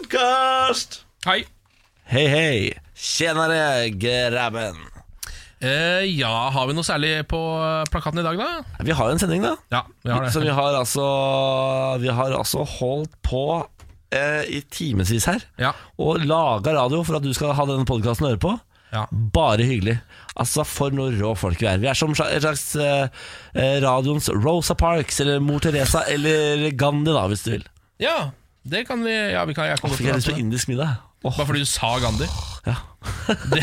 podkast! Hei. Hei, hei. Tjenere, grabben. Eh, ja, har vi noe særlig på eh, plakaten i dag, da? Vi har jo en sending, da. Ja, vi har Så vi det. har altså Vi har altså holdt på eh, i timevis her. Ja. Og laga radio for at du skal ha denne podkasten å høre på. Ja. Bare hyggelig. Altså, for noe rå folk vi er. Vi er som sla- en slags eh, eh, radioens Rosa Parks, eller Mor Teresa, eller Gandhi, da, hvis du vil. ja, det kan vi Ja, vi kan, jeg kan godt Fikk jeg lyst prate på om det. indisk middag? Åh, Bare fordi du sa Gandhi. ja. Det,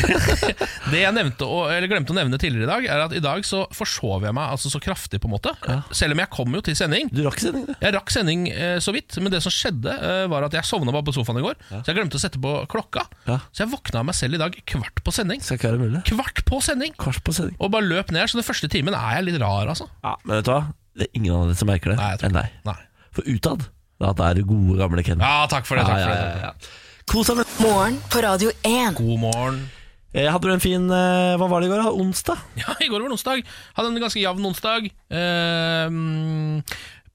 det jeg nevnte, å- eller glemte å nevne tidligere i dag, er at i dag så forsov jeg meg altså så kraftig, på en måte. Selv om jeg kom jo til sending. Du rakk sending, du. Jeg rakk sending eh, så vidt, men det som skjedde, eh, var at jeg sovna bare på sofaen i går. Så jeg glemte å sette på klokka. Ja. Så jeg våkna av meg selv i dag kvart på sending. Skal ikke være mulig. Kvart på sending! Kvart på sending. Og bare løp ned, så den første timen er jeg litt rar, altså. Ja, men vet du hva? Det er ingen andre som merker det Nei, jeg tror enn deg. Nei. For utad, da er du gode, gamle Ken. Ja, takk for det. Takk Ja, for ja, det. ja, ja. Kos deg med Morgen på Radio 1. God morgen. Eh, Hadde du en fin eh, Hva var det i går? da? Onsdag? Ja, i går var det onsdag. Hadde en ganske jevn onsdag. Eh, mm,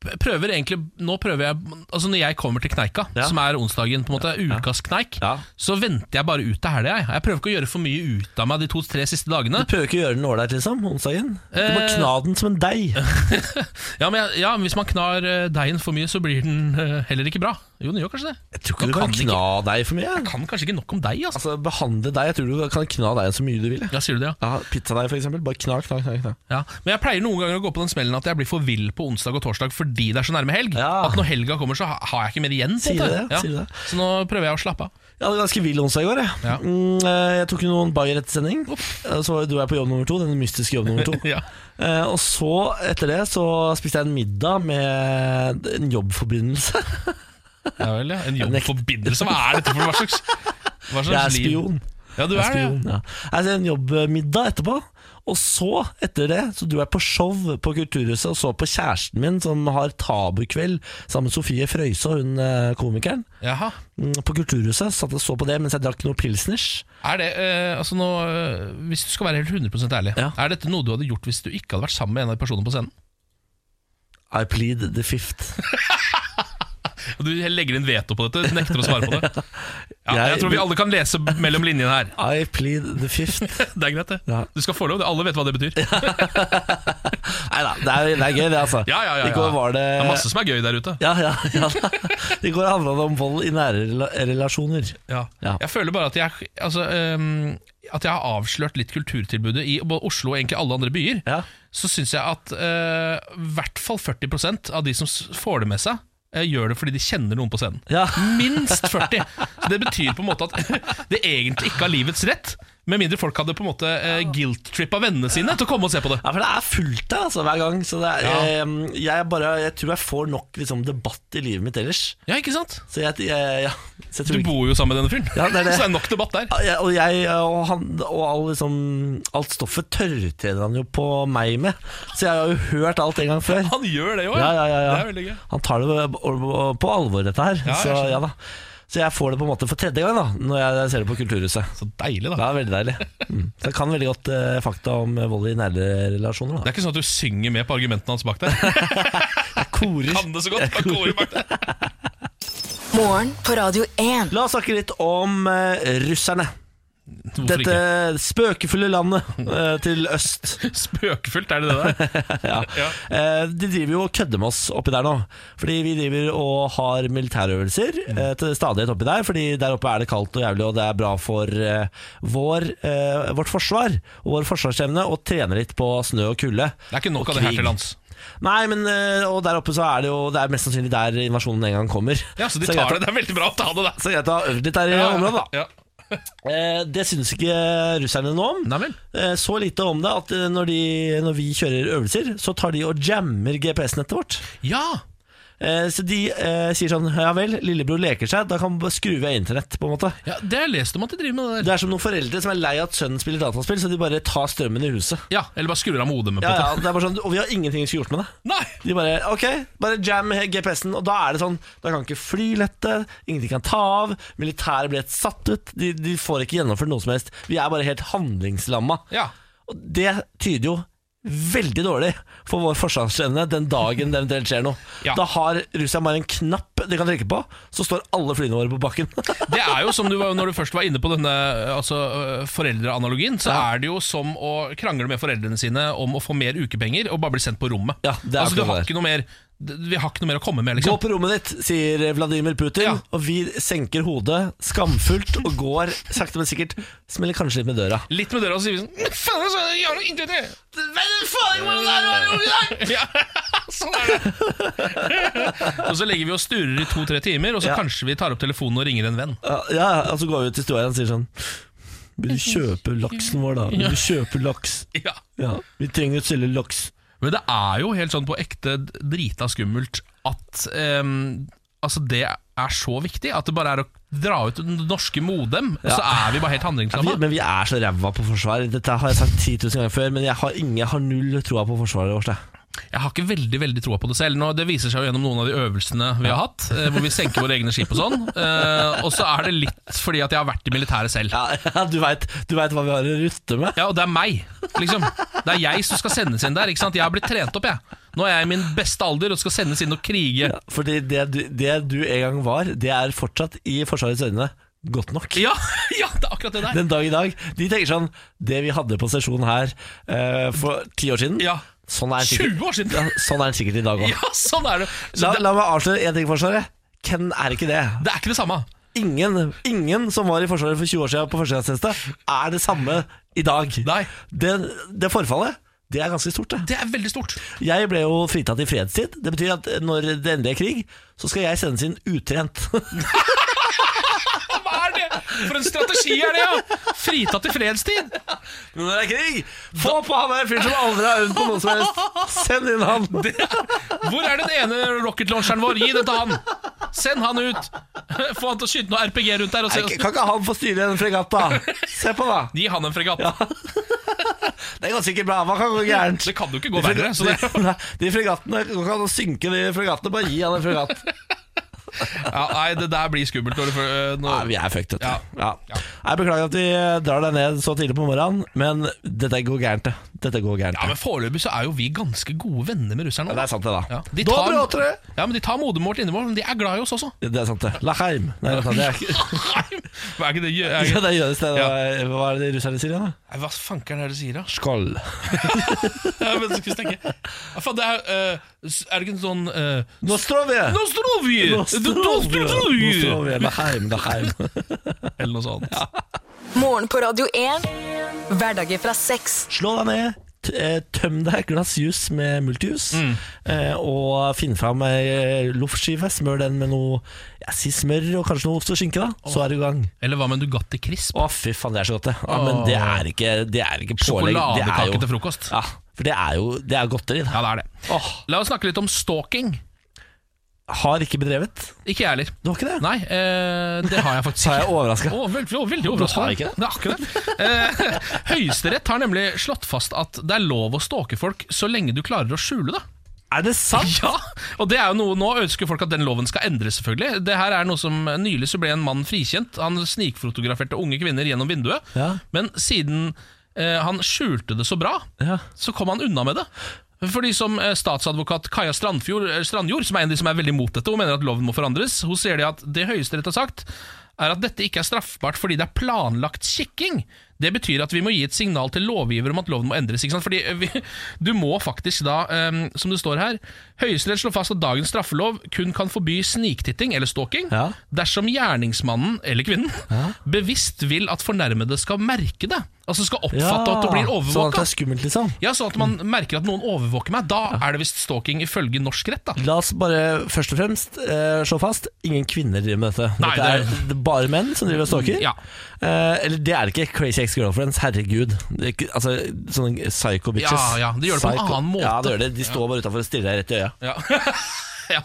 p- prøver egentlig Nå prøver jeg Altså Når jeg kommer til kneika, Ja. som er onsdagen, på en måte ukas kneik, Ja. så venter jeg bare ut til helga. Jeg. jeg prøver ikke å gjøre for mye ut av meg de to-tre siste dagene. Du prøver ikke å gjøre den ålreit, liksom? Onsdagen? Du må Eh. kna den som en deig. Ja, men jeg, ja, men Hvis man knar eh, deigen for mye, så blir den eh, heller ikke bra. Jo, den gjør kanskje det. Jeg tror ikke Man du kan, kan ikke- kna deg for mye. Kan kanskje ikke nok om deg, altså. Altså, behandle deg. Jeg tror du kan kna deg så mye du vil. jeg. Ja, sier du det, ja. Ja, Pizzadeig, for eksempel. Bare kna, kna, kna. kna. Ja, Men jeg pleier noen ganger å gå på den smellen at jeg blir for vill på onsdag og torsdag fordi det er så nærme helg. Ja. At når helga kommer, så ha- har jeg ikke mer igjen. på Sier en du måte. det? Sier du det? Så nå prøver jeg å slappe av. Jeg hadde en ganske vill onsdag i går. Jeg, Ja. mm, eh, jeg tok jo noen bayer etter sending. Eh, Så var jo du her på jobb nummer to. Den mystiske jobb nummer to. Ja. Eh, og så, etter det, så spiste jeg en middag med en jobbforbindelse. Ja vel, ja. En jobbforbindelse? Hva er dette for noe? hva slags, hva slags Jeg er liv? spion. Ja, du er det. ja. Spion, ja. Altså, en jobbmiddag etterpå. Og så, etter det, så dro jeg på show på Kulturhuset og så på kjæresten min, som har tabukveld sammen med Sofie Frøysaa, hun eh, komikeren. Jaha. Mm, På Kulturhuset satt jeg og så på det mens jeg drakk noe pilsners. Er det, eh, altså nå, eh, Hvis du skal være helt 100 ærlig, Ja. er dette noe du hadde gjort hvis du ikke hadde vært sammen med en av de personene på scenen? I plead the fifth. Og Du legger inn veto på dette, du nekter å svare på det. Jeg- Ja, jeg tror vi alle kan lese mellom linjene her. I plead the fifth. Det er greit, det. Ja. Du skal få lov. det. Alle vet hva det betyr. Nei da, det, er- det er gøy, det, altså. Ja, ja, ja, I går ja. var det Det er masse som er gøy der ute. ja, ja, ja. I går handla det om vold i nære rela- relasjoner. Ja. Ja. Jeg føler bare at jeg, altså, øhm, at jeg har avslørt litt kulturtilbudet i både Oslo og egentlig alle andre byer. Ja. Så syns jeg at øh, i hvert fall 40 av de som s- får det med seg, øh, gjør det fordi de kjenner noen på scenen. Ja. Minst 40! Så det betyr på en måte at det egentlig ikke har livets rett. Med mindre folk hadde på en måte øh, guilt-trippa vennene sine til å komme og se på det. Ja, for det er fullt der altså, hver gang. Så det er, Ja. eh, jeg, bare, jeg tror jeg får nok liksom, debatt i livet mitt ellers. Ja, ikke sant? Så jeg, jeg, ja, så jeg Du tror ikke bor jo sammen med denne fyren, Ja, det er det. så det er nok debatt der. Ja, jeg, og jeg og, han, og all, liksom, alt stoffet tørrtreder han jo på meg med. Så jeg har jo hørt alt en gang før. Han gjør det jo, Ja, ja, ja, ja. Det er veldig gøy. Han tar det på alvor, dette her. Ja, jeg så, skjønner. ja, da. så jeg får det på en måte for tredje gang da når jeg ser det på Kulturhuset. Så deilig, da. Det er veldig deilig. Mm. Så jeg kan veldig godt eh, fakta om vold i nære relasjoner. Det Da. er ikke sånn at du synger med på argumentene hans bak der. Jeg korer. Kan det så godt, bare går bak der. Morgen på Radio 1. La oss snakke litt om eh, russerne. Hvorfor Dette ikke? spøkefulle landet eh, til øst. Spøkefullt, er det det der? Ja. Ja. Eh, de driver jo og kødder med oss oppi der nå. Fordi vi driver og har militærøvelser Mm. eh, til stadighet oppi der. Fordi der oppe er det kaldt og jævlig, og det er bra for eh, vår, eh, vårt forsvar og vår forsvarsevne å trene litt på snø og kulde. Det er ikke nok Og av det her krig. til lands. Nei, men eh, og der oppe så er det jo Det er mest sannsynlig der invasjonen en gang kommer. Ja, Så de er tar greit det. å- Det er veldig bra å ta det, da. Så er det greit å ha øvd litt der i området, da. Ja. Eh, det syns ikke russerne noe om. Nei vel. Eh, så lite om det at eh, når, de, når vi kjører øvelser, så tar de og jammer GPS-nettet vårt. Ja. Eh, Så de eh, sier sånn Ja vel, lillebror leker seg, da kan vi skru av internett, på en måte. ja, det har jeg lest om at de driver med det der. Det er som noen foreldre som er lei av at sønnen spiller dataspill, så de bare tar strømmen i huset. Ja, Eller bare skrur av modemet. Ja, på ja, det. det er bare sånn, Og vi har ingenting vi skulle gjort med det. Nei! De bare ok, bare jam GPS-en, og da er det sånn Da kan ikke fly lette, ingenting kan ta av, militæret blir helt satt ut, de, de får ikke gjennomført noe som helst. Vi er bare helt handlingslamma. Ja. Og det tyder jo veldig dårlig for vår forsvarsevne den dagen det eventuelt skjer noe. Ja. Da har Russland bare en knapp de kan trykke på, så står alle flyene våre på bakken. Det er jo som du var, Når du først var inne på denne altså, øh, foreldreanalogien, så er det jo som å krangle med foreldrene sine om å få mer ukepenger og bare bli sendt på rommet. Ja, det er altså, du akkurat har det. ikke noe mer Vi har ikke noe mer å komme med, Gå liksom. på rommet ditt, sier Vladimir Putin, Ja. og vi senker hodet skamfullt og går sakte, men sikkert. Smeller kanskje litt med døra. Litt med døra og så sier vi sånn Men faen, altså, jeg har jo ingenting å gjøre. Ja, sånn er det. og så legger vi og sturer i to-tre timer, og så Ja. kanskje vi tar opp telefonen og ringer en venn. Ja, ja, og så går vi ut til stua igjen og sier sånn Vil du kjøpe laksen vår, da? Vil du kjøpe laks? Ja. Ja, vi trenger å selge laks. Men det er jo helt sånn på ekte drita skummelt at ehm, altså det er så viktig at det bare er å dra ut den norske modem, og så er vi bare Ja, helt vi, handlingslamma. men vi er så ræva på forsvar. Dette har jeg sagt 10 000 ganger før, men jeg har, ingen, jeg har null troa på forsvaret vårt. jeg. Jeg har ikke veldig veldig troa på det selv. Nå, det viser seg jo gjennom noen av de øvelsene vi har hatt, eh, hvor vi senker våre egne skip og sånn. Eh, og så er det litt fordi at jeg har vært i militæret selv. Ja, ja, du veit du vet hva vi har å rutte med. Ja, og det er meg, liksom. Det er jeg som skal sendes inn der. ikke sant? Jeg har blitt trent opp, jeg. Nå er jeg i min beste alder og skal sendes inn og krige. Ja, fordi det du, det du en gang var, det er fortsatt i Forsvarets øyne godt nok. Ja, ja det er akkurat det der. Den dag i dag. De tenker sånn Det vi hadde på sesjon her eh, for ti år siden, Ja. sånn er det sikkert, 20 år ja, siden! sånn er det sikkert i dag òg. Ja, sånn er det. La, Så det, la meg avsløre én ting, Forsvaret. Ken er ikke det. det er ikke det samme. Ingen, ingen som var i Forsvaret for 20 år siden på førstegangstjeneste, er det samme i dag. Nei. Det, det forfallet, det er ganske stort, det. Det er veldig stort. Jeg ble jo fritatt i fredstid. Det betyr at når det endelig er krig, så skal jeg sendes inn utrent. Hva er det? For en strategi er det, ja! Fritatt i fredstid. Men når det er krig, få på han der fyren som aldri har øvd på noe som helst! Send inn han! Hvor er den ene rocket launcheren vår? Gi den til han! Send han ut! Få han til å skyte noe RPG rundt der. Og Nei, se. Kan ikke han få styre en fregatta? Se på, da! Gi han en fregatt. Det går sikkert bra. Hva kan gå gærent? Det kan jo ikke gå verre. Så De, det, nei, de fregattene går ikke an å synke, de fregattene. Bare gi han en fregatt. ja, nei, det der blir skummelt. Når du, får- eh, Nei, når, vi er fucked, vet du. Ja. Ja. Jeg beklager at vi drar deg ned så tidlig på morgenen, men dette går gærent, det. Dette går gærent. Ja, det. men Foreløpig så er jo vi ganske gode venner med russerne. Ja, det er sant, det, da. Ja, de tar- Dobro åtre! Ja, men De tar modermål til innimellom, men de er glad i oss også. Det er sant, det. Laheim. Nei, vent da, det er ikke Hva er ikke det, er ja, ikke, det er jødisk, det. Hva- Hva er det de russerne sier igjen, da? Nei, hva fanker er det du sier, da? Skål. Ja, men så skal vi tenke. Ja, faen, det er, eh, s- er det ikke en sånn uh, Nostrovje! Nostrovje! Nostrovje! Nostrovje. Laheim, Laheim. Eller noe sånt. Morgen på Radio 1. Hverdager fra seks. Slå deg ned, t- eh, tøm deg et glass juice med multijus, eh, og finn fram ei eh, loffskive. Smør den med noe ja, si smør og kanskje noe ost og skinke, da. Så er du i gang. Eller hva med en Nugatti Crisp? Å, fy faen, det er så godt, det. Ja, men det er ikke, det er ikke pålegg. Det er jo- Sjokoladekake til frokost. Ja, for det er jo det er godteri, det. Ja, det er det. Åh, La oss snakke litt om stalking. har ikke bedrevet. Ikke jeg heller. Du har ikke det? Nei, eh, det har jeg faktisk Så er ikke. jeg overraska. Å, veldig, veldig overraskende. har jeg ikke det. Det er akkurat det. Eh, Høyesterett har nemlig slått fast at det er lov å stalke folk så lenge du klarer å skjule det. Er det sant? Ja, og det er jo noe Nå ønsker folk at den loven skal endres, selvfølgelig. Det her er noe som Nylig så ble en mann frikjent. Han snikfotograferte unge kvinner gjennom vinduet. Ja. Men siden eh, han skjulte det så bra, Ja. så kom han unna med det. Fordi som eh, statsadvokat Kaja Strandfjord, eh, Strandjord, som er en av de som er veldig mot dette, hun mener at loven må forandres. Hun sier det at det Høyesterett har sagt, er at dette ikke er straffbart fordi det er planlagt kikking. Det betyr at vi må gi et signal til lovgiver om at loven må endres. Ikke sant? Fordi eh, vi, Du må faktisk da, eh, som det står her Høyesterett slår fast at dagens straffelov kun kan forby sniktitting eller stalking Ja. dersom gjerningsmannen eller kvinnen bevisst vil at fornærmede skal merke det. Altså skal oppfatte at du blir Sånn at overvåka. det er skummelt, liksom. Ja, sånn at man merker at noen overvåker meg. Da er det visst stalking ifølge norsk rett, da. La oss bare først og fremst eh, slå fast ingen kvinner driver med dette. Nei, dette er det Mm, det er bare menn som driver og stalker. Ja. Eh, eller det er det ikke. Crazy ex-girlfriends, herregud. Det er ikke, altså, Sånne psycho bitches. Ja, ja, de gjør det på en annen måte. Ja, det gjør det. De står bare utafor og stirrer deg rett i øya. Ja. ja.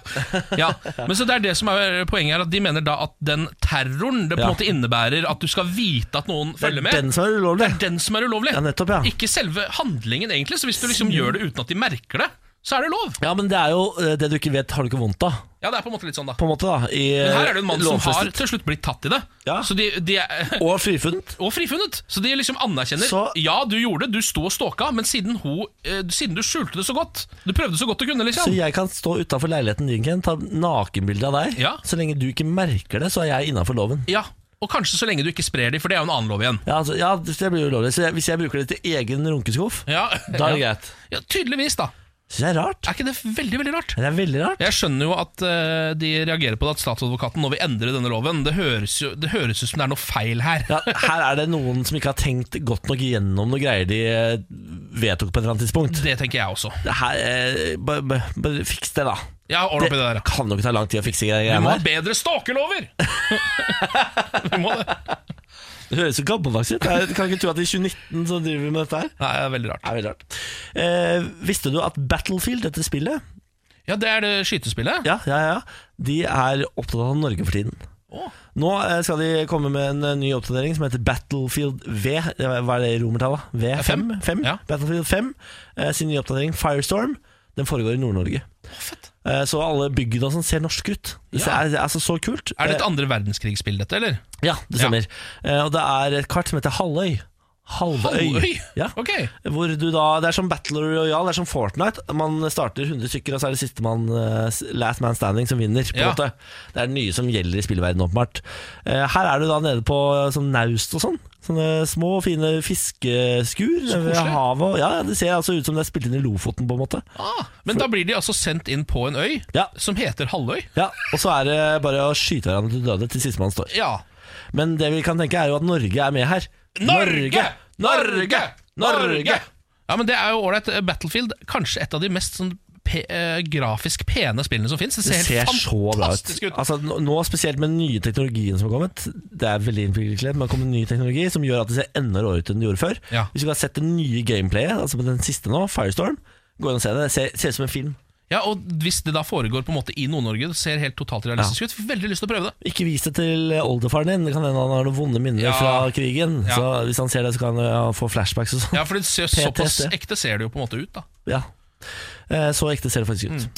ja. Men så det er det som er poenget her, at de mener da at den terroren det på en Ja. måte innebærer at du skal vite at noen Det er følger med, den, den som er ulovlig. som er ulovlig. Ja, nettopp, ja. Ikke selve handlingen, egentlig. Så hvis du liksom gjør det uten at de merker det, så er det lov. Ja, men det er jo eh, det du ikke vet, har du ikke vondt av. Ja, det er på en måte litt sånn, da. På en måte, da. I, Men her er det jo en mann som har lovfestet. til slutt blitt tatt i det. Ja. Så de, de er, Og frifunnet. og frifunnet. Så de liksom anerkjenner Så- Ja, du gjorde det, du sto og stalka, men siden, hun, eh, siden du skjulte det så godt Du prøvde så godt du kunne, Så liksom. jeg kan stå utafor leiligheten din, Ken, ta nakenbilde av deg. Ja. Så lenge du ikke merker det, så er jeg innafor loven. Ja, Og kanskje så lenge du ikke sprer dem, for det er jo en annen lov igjen. Ja, altså, ja, det blir jo ulovlig. Så jeg, hvis jeg bruker det til egen runkeskuff, Ja, da er det ja. greit. ja Tydeligvis, da. Syns jeg er rart. Er ikke det veldig, veldig rart? Det er veldig rart. Jeg skjønner jo at eh, de reagerer på det at statsadvokaten nå vil endre denne loven. Det høres jo det høres ut som det er noe feil her. Ja, her er det noen som ikke har tenkt godt nok gjennom noen greier de eh, vedtok på et eller annet tidspunkt. Det tenker jeg også. Det her, eh, bare- bare bare fiks det, da. Jeg har ordnet opp i det der. Det kan jo ikke ta lang tid å fikse Vi greiene må ha her. bedre stalkerlover! Vi må det. Det høres så gammeldags ut. Jeg kan ikke tro at i 2019 så driver vi med dette her. Nei, det er veldig rart. Det er veldig rart. Eh, visste du at Battlefield, dette spillet, Ja, det er det skytespillet. ja, ja, ja, de er opptatt av Norge for tiden? Å, Nå eh, skal de komme med en eh, ny oppdatering som heter Battlefield V. Eh, Hva er det i romertallet? V? fem. 5? Fem? Ja. Battlefield 5 eh, sin nye oppdatering, Firestorm. Den foregår i Nord-Norge. fett. Eh, Så alle byggene og sånn ser norske ut. Det Ja. er, det er altså så kult. Er det et Eh, andre verdenskrigsspill, dette, eller? Ja, det stemmer. Eh, Og det er et kart som heter Halvøy. Halvøy. Halvøy? Ja. Ok. Hvor du da, det er som Battle Royale, det er som Fortnite. Man starter 100 stykker, og så er det sistemann, eh, last man standing, som vinner. på en Ja. måte. Det er det nye som gjelder i spillverdenen, åpenbart. Eh, Her er du da nede på eh, sånn naust og sånn. Sånne små, fine fiskeskur Så ved koselig. havet. og- Ja, ja, det ser altså ut som det er spilt inn i Lofoten, på en måte. Ah, men da blir de altså sendt inn på en øy Ja. som heter Halvøy. Ja, Og så er det bare å skyte hverandre til døde til sistemann står. Ja. Men det vi kan tenke er jo at Norge er med her. Norge! Norge! Ja, men Det er jo ålreit. Battlefield, kanskje et av de mest sånn pe eh, grafisk pene spillene som fins. Det Det ser, ser så bra ut. fantastisk ut. Altså, nå- nå Spesielt med den nye teknologien som har kommet. Det er veldig innviklet, men det kommer ny teknologi som gjør at det ser enda råere ut enn det gjorde før. Ja. Hvis du ikke har sett det nye gameplayet, altså på den siste nå, Firestorm, gå inn og se det. Det ser, ser ut som en film. Ja, og Hvis det da foregår på en måte i Nord-Norge, det ser helt totalt realistisk ut. Veldig lyst til å prøve det. Ikke vis det til oldefaren din. Det kan hende han har noen vonde minner Ja. fra krigen. Ja. Så Hvis han ser det, så kan han få flashbacks og sånn. Ja, for det ser PTSD. Såpass ekte ser det jo på en måte ut. da Ja. Eh, Så ekte ser det faktisk ut.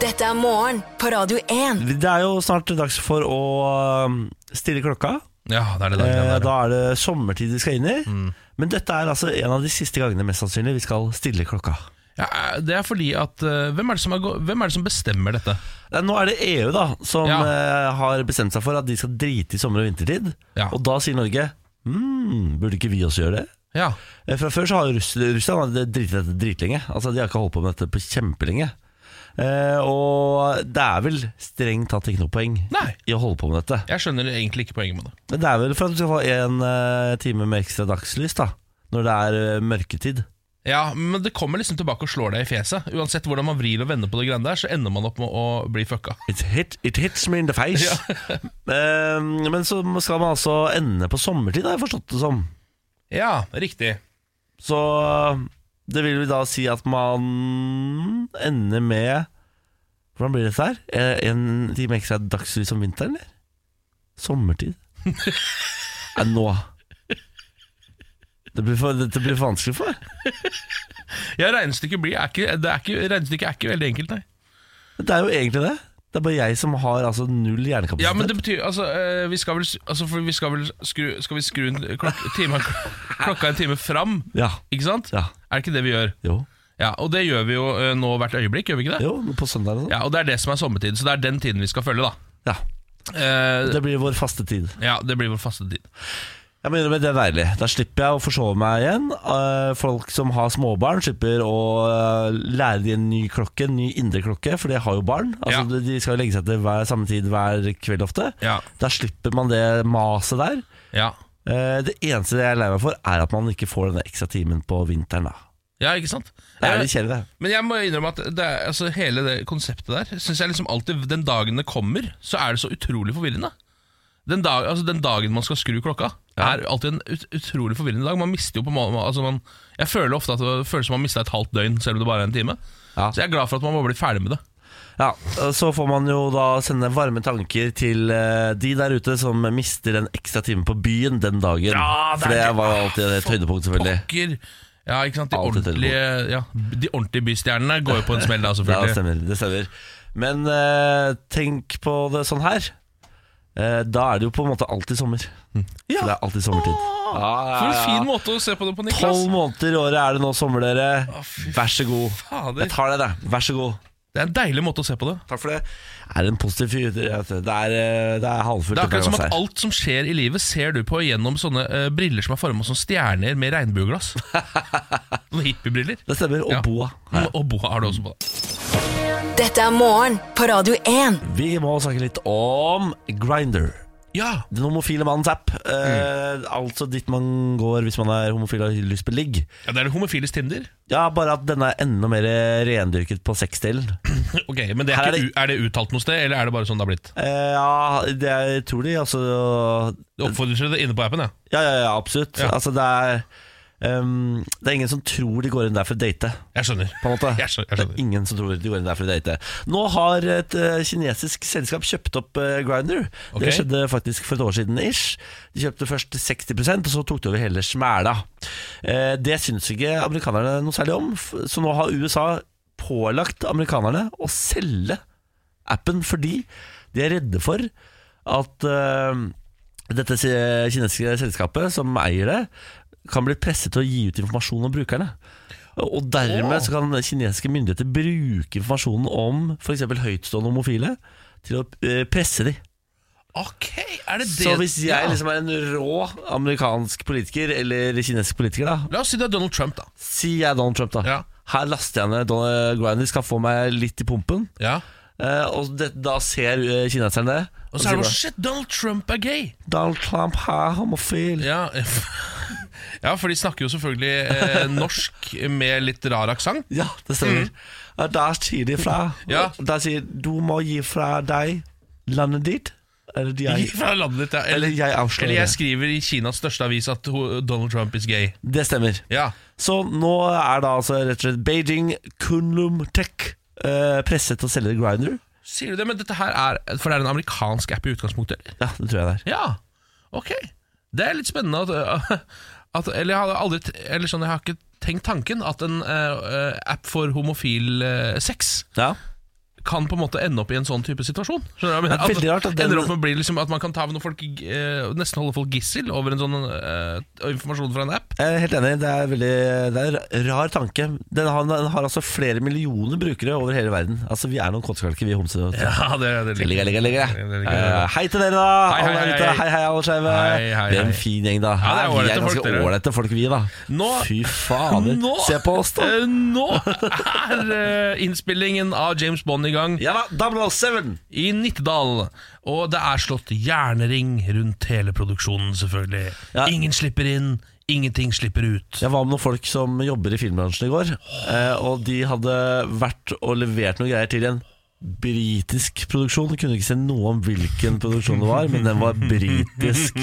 Dette er morgen på Radio Mm. 1. Det er jo snart dags for å um, stille klokka. Ja, det er det der, Eh, det Mm. Da er det sommertid vi skal inn i. Men dette er altså en av de siste gangene mest sannsynlig vi skal stille klokka. Ja, det er fordi at eh, hvem er, det som er, gå- hvem er det som bestemmer dette? Eh, Nå er det EU da som Ja. eh, har bestemt seg for at de skal drite i sommer- og vintertid. Ja. Og da sier Norge hmm, burde ikke vi også gjøre det? Ja, Eh, Fra før så har Russ Russland har driti i dette dritlenge. Altså, de har ikke holdt på med dette på kjempelenge. Eh, og det er vel strengt tatt ikke noe poeng Nei. i å holde på med dette. Jeg skjønner egentlig ikke poenget med det. Men det er vel for at du skal få en eh, time med ekstra dagslys, da. Når det er eh, mørketid. Ja, Men det kommer liksom tilbake og slår deg i fjeset. Uansett hvordan man vrir og vender på det greiene der, så ender man opp med å bli fucka. It, hit, it hits me in the face. Eh, men så skal man altså ende på sommertid, har jeg forstått det som. Ja, riktig. Så eh, det vil vel da si at man ender med Hvordan blir dette her? Eh, En time ekstra dagslys om vinteren, eller? Sommertid? Nei, nå det blir, for, Dette blir for vanskelig for meg. Ja, regnestykket blir er ikke, det er ikke, Regnestykket er ikke veldig enkelt, nei. Det er jo egentlig det. Det er bare jeg som har altså null hjernekapasitet. Ja, men det betyr Altså, eh, vi skal vel, s- altså for vi skal vel skru Skal vi skru en klok, time, klokka en time fram, Ja, ikke sant? ja, Er det ikke det vi gjør? jo, Ja, Og det gjør vi jo eh, nå hvert øyeblikk, gjør vi ikke det? jo på søndag og sånn. Ja, Og det er det som er sommertid, så det er den tiden vi skal følge, da. Ja. Eh, Det blir vår faste tid. ja, det blir vår faste tid. Jeg må innrømme det er deilig. Da slipper jeg å forsove meg igjen. Eh, Folk som har småbarn, slipper å eh, lære de en ny klokke, en ny indre klokke, for de har jo barn. Altså, Ja. de- De skal jo legge seg til hver, samme tid hver kveld ofte. Ja, Da slipper man det maset der. ja. Eh, Det eneste jeg er lei meg for, er at man ikke får denne ekstra timen på vinteren. Da. ja ikke sant? Det er Eh, litt kjedelig. det. Men jeg må innrømme at det er, altså, hele det konseptet der Synes jeg liksom alltid Den dagen det kommer, så er det så utrolig forvirrende. Den, dag, altså, den dagen man skal skru klokka, er alltid en ut, utrolig forvirrende dag. Man mister jo på en måte altså, man, Jeg føler ofte at det føles som man mista et halvt døgn, selv om det bare er en time. Ja. Så jeg er glad for at man må bli ferdig med det. Ja, Så får man jo da sende varme tanker til eh, de der ute som mister en ekstra time på byen den dagen. Ja, det er For det det. var jo alltid et høydepunkt, selvfølgelig. Pokker! Ja, ikke sant? De Alt etter ordentlige, ja, de ordentlige bystjernene går jo på en smell da, Ja, det selvfølgelig. stemmer. Det stemmer. Men eh, tenk på det sånn her. Eh, da er det jo på en måte alltid sommer. Så det er alltid sommertid. Ja, ja, Mm. For en ja. fin måte å se på det på, Niklas. Tolv måneder i året er det nå sommer, dere. Å, fy Vær så god. Fader. Jeg tar det, det. Vær så god. Det er en deilig måte å se på det. Takk for det. Er det en positiv fyr. Det er, eh, det er halvfullt. altså. Det er akkurat som dette glasset at her. alt som skjer i livet, ser du på gjennom sånne eh, briller som er forma som stjerner med regnbueglass. Noen hippiebriller. Det stemmer. Og Ja. boa. Mm, Og boa har du også på deg. Dette er morgen på Radio 1. Vi må snakke litt om Grinder. Ja, Den homofile mannens app. Mm. Eh, Altså dit man går hvis man er homofil og har lyst på ligg. ja Det er homofiles Tinder. Ja, bare at denne er enda mer rendyrket på sexdelen. Ok, Men det Her er, er ikke, u- er det uttalt noe sted, eller er det bare sånn det har blitt? Eh, ja, det er, jeg tror de altså Det oppfordrer seg det inne på appen, ja. Ja, ja, ja, absolutt. Ja. Altså, det er ehm, Det er ingen som tror de går inn der for å date, Jeg skjønner. på en måte. Jeg skjønner, jeg Det er skjønner. ingen som tror de går inn der for å date. Nå har et eh, kinesisk selskap kjøpt opp uh, Grinder. Ok. Det skjedde faktisk for et år siden ish. De kjøpte først 60 og så tok de over hele smæla. Eh, det syns ikke amerikanerne noe særlig om, f- så nå har USA pålagt amerikanerne å selge appen fordi de er redde for at eh, dette si- kinesiske selskapet som eier det, kan bli presset til å gi ut informasjon om brukerne. Og dermed så kan kinesiske myndigheter bruke informasjonen om f.eks. høytstående homofile til å eh, presse de. Ok, er det det Så hvis jeg Ja. liksom er en rå amerikansk politiker, eller kinesisk politiker, da La oss si det er Donald Trump, da. sier jeg Donald Trump, da. Ja. Her laster jeg ned Donald Grindy, skal få meg litt i pumpen. Ja. Eh, og det, da ser eh, kineseren det. Og så er det sier bare Shit, Donald Trump er gay! bare, Donald Trump er homofil. Ja, ja for de snakker jo selvfølgelig eh, norsk med litt rar aksent. Ja, det stemmer. Og Da sier de fra. Mm. Ja. Og Da sier du må gi fra deg landet ditt. Eller, de er, Fra landet ditt, ja. eller Eller, jeg avslører eller jeg det. skriver i Kinas største avis at ho- Donald Trump is gay. Det stemmer. Ja. Så nå er da altså rett og slett Beijing Kunlum Tech eh, presset til å selge Grinder. Sier du det? Men dette her er For det er en amerikansk app i utgangspunktet, eller? Ja, det tror jeg det er. Ja, ok. Det er litt spennende at, at Eller jeg har aldri t- Eller sånn, jeg har ikke tenkt tanken at en eh, eh, app for homofil eh, sex Ja. kan på en måte ende opp i en sånn type situasjon. Skjønner du hva jeg Det er veldig mener? rart at den- ender opp med å bli liksom at man kan ta med noen folk i- eh, nesten holde folk gissel over en sånn eh, informasjon fra en app. Jeg er helt enig. Det er, veldig, det er en rar tanke. Den har, den har altså flere millioner brukere over hele verden. Altså, Vi er noen kåtskalker, vi homser. Ja, det, det Ligger, ligger, ligger, ligger. Eh, Ja, hei til dere, da! Hei, hei, alle hei, ute. hei. hei, hei, alle skeive. Hei, hei, Vi er en hei. fin gjeng, da. Ja, det er Her, vi ålrete er folk, ganske dere. ålreite folk, vi, da. Nå- Fy fader. Nå- Se på oss, da. Eh, Nå er eh, innspillingen av James Bond i gang. Ja da, 007. i Nittedal. Og det er slått jernring rundt hele produksjonen, selvfølgelig. Ja. Ingen slipper inn, ingenting slipper ut. Jeg var med noen folk som jobber i filmbransjen i går, eh, og de hadde vært og levert noen greier til en britisk produksjon. Jeg kunne ikke se noe om hvilken produksjon det var, men den var britisk.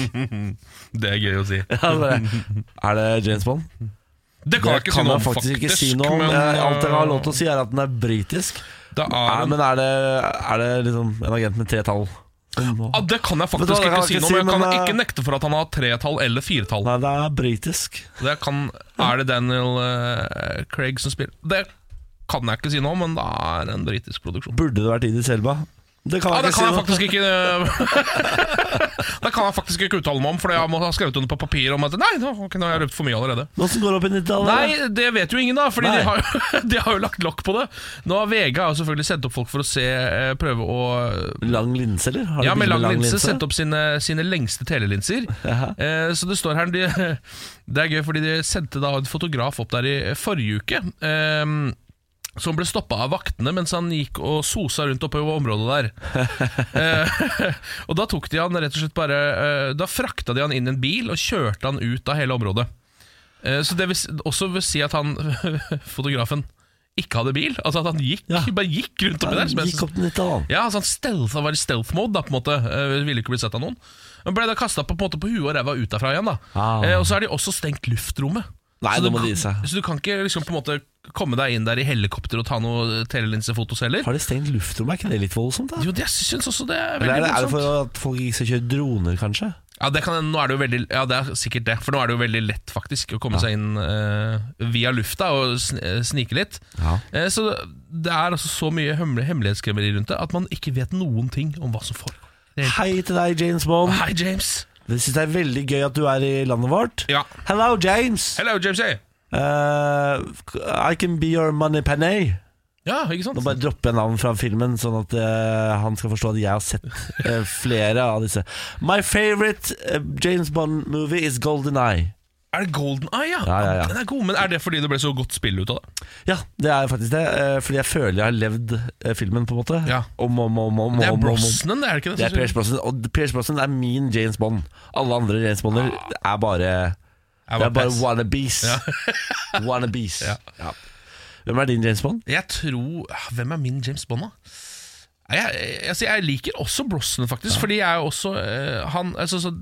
Det er gøy å si. Ja, bare, er det James Bond? Det Det kan jeg ikke si kan noe jeg om, faktisk ikke si faktisk, noe om. men, Eh, Alt jeg har eh, lov til å si, er at den er britisk. Det er Er, en- men er det, er det liksom en agent med tre tall? Ah, det kan jeg Vet du faktisk hva, det ikke, kan jeg si ikke si, noe om. Jeg kan men, eh, ikke nekte for at han har tretall eller firetall. Nei, det er britisk. Det kan, er det Daniel eh, Craig som spiller Det kan jeg ikke si noe om, men det er en britisk produksjon. Burde det vært Idris Elba? Det kan Ja, jeg det ikke kan si jeg noe faktisk ikke eh, Det kan jeg faktisk ikke uttale meg om, for jeg må ha skrevet under på papir om at Nei, nå ok, nå har jeg røpt for mye allerede. Hvordan går det opp i 90-tallet? Nei, det vet jo ingen, da, Fordi Nei. de har, de har jo lagt lokk på det. Nå har VG har jo selvfølgelig sendt opp folk for å se eh, prøve å Lang linse, eller? Har ja, du med bilde lang linse sendt opp sine, sine lengste telelinser. Jaha. Eh, så det står her de, Det er gøy, fordi de sendte da en fotograf opp der i forrige uke. Eh, som ble stoppa av vaktene mens han gikk og sosa rundt oppe i området der. eh, og Da tok de han rett og slett bare eh, Da frakta de han inn i en bil og kjørte han ut av hele området. Eh, så Det vil s- også vil si at han fotografen ikke hadde bil. Altså at han gikk, Ja. bare gikk rundt oppi der. som jeg synes- Gikk opp til 90-tallet. ja, altså han stealth, han var i stealth mode da, på en måte. Eh, ville ikke blitt sett av noen. Men ble da kasta på, på, en måte på huet og ræva ut derfra igjen, da. Ah. Eh, og så har de også stengt luftrommet. Nei, så nå du må de gi kan- seg. Så du kan ikke liksom på en måte komme deg inn der i helikopter og ta noe telelinsefotos heller. Har de stengt luftrommet? Er ikke det litt voldsomt? da? Jo, det syns også det er Eller veldig er det, er det morsomt. for at folk ikke skal kjøre droner, kanskje? Ja, det, kan, nå er det, jo veldig, ja, det er sikkert det. For nå er det jo veldig lett faktisk å komme seg inn eh, via lufta og sn eh, snike litt. Ja. Eh, så det er altså så mye hemmel hemmelighetskremmeri rundt det at man ikke vet noen ting om hva som foregår. Det er- Hei til deg, James Bond. Hei, James! Det synes jeg er veldig gøy at du er i landet vårt. Ja. Hello, James. Hello, James! Hey. Eh, I can be your money penny. Ja, ikke sant? Nå bare dropper jeg navn fra filmen, sånn at eh, han skal forstå at jeg har sett eh, flere av disse. My favorite eh, James Bond-movie is Golden Eye. Er det Golden Eye, ja? Ja, ja, ja. Den er god, men er det fordi det ble så godt spill ut av det? Ja, det er faktisk det. eh, fordi jeg føler jeg har levd eh, filmen, på en måte. Ja. Om, om, om, om, Det er om, om, om. Brosnan, det er det ikke det? Det er Pierce Brosnan, og Pierce Brosnan er min James Bond. Alle andre James Bonder er bare Jeg, Det er bare bare pass. wannabes. wannabes. Ja. Ja. Hvem er din James Bond? jeg tror ah, Hvem er min James Bond, da? Nei, Jeg, jeg, altså, jeg liker også Brosnan, faktisk. Fordi jeg er også eh, han, altså, så,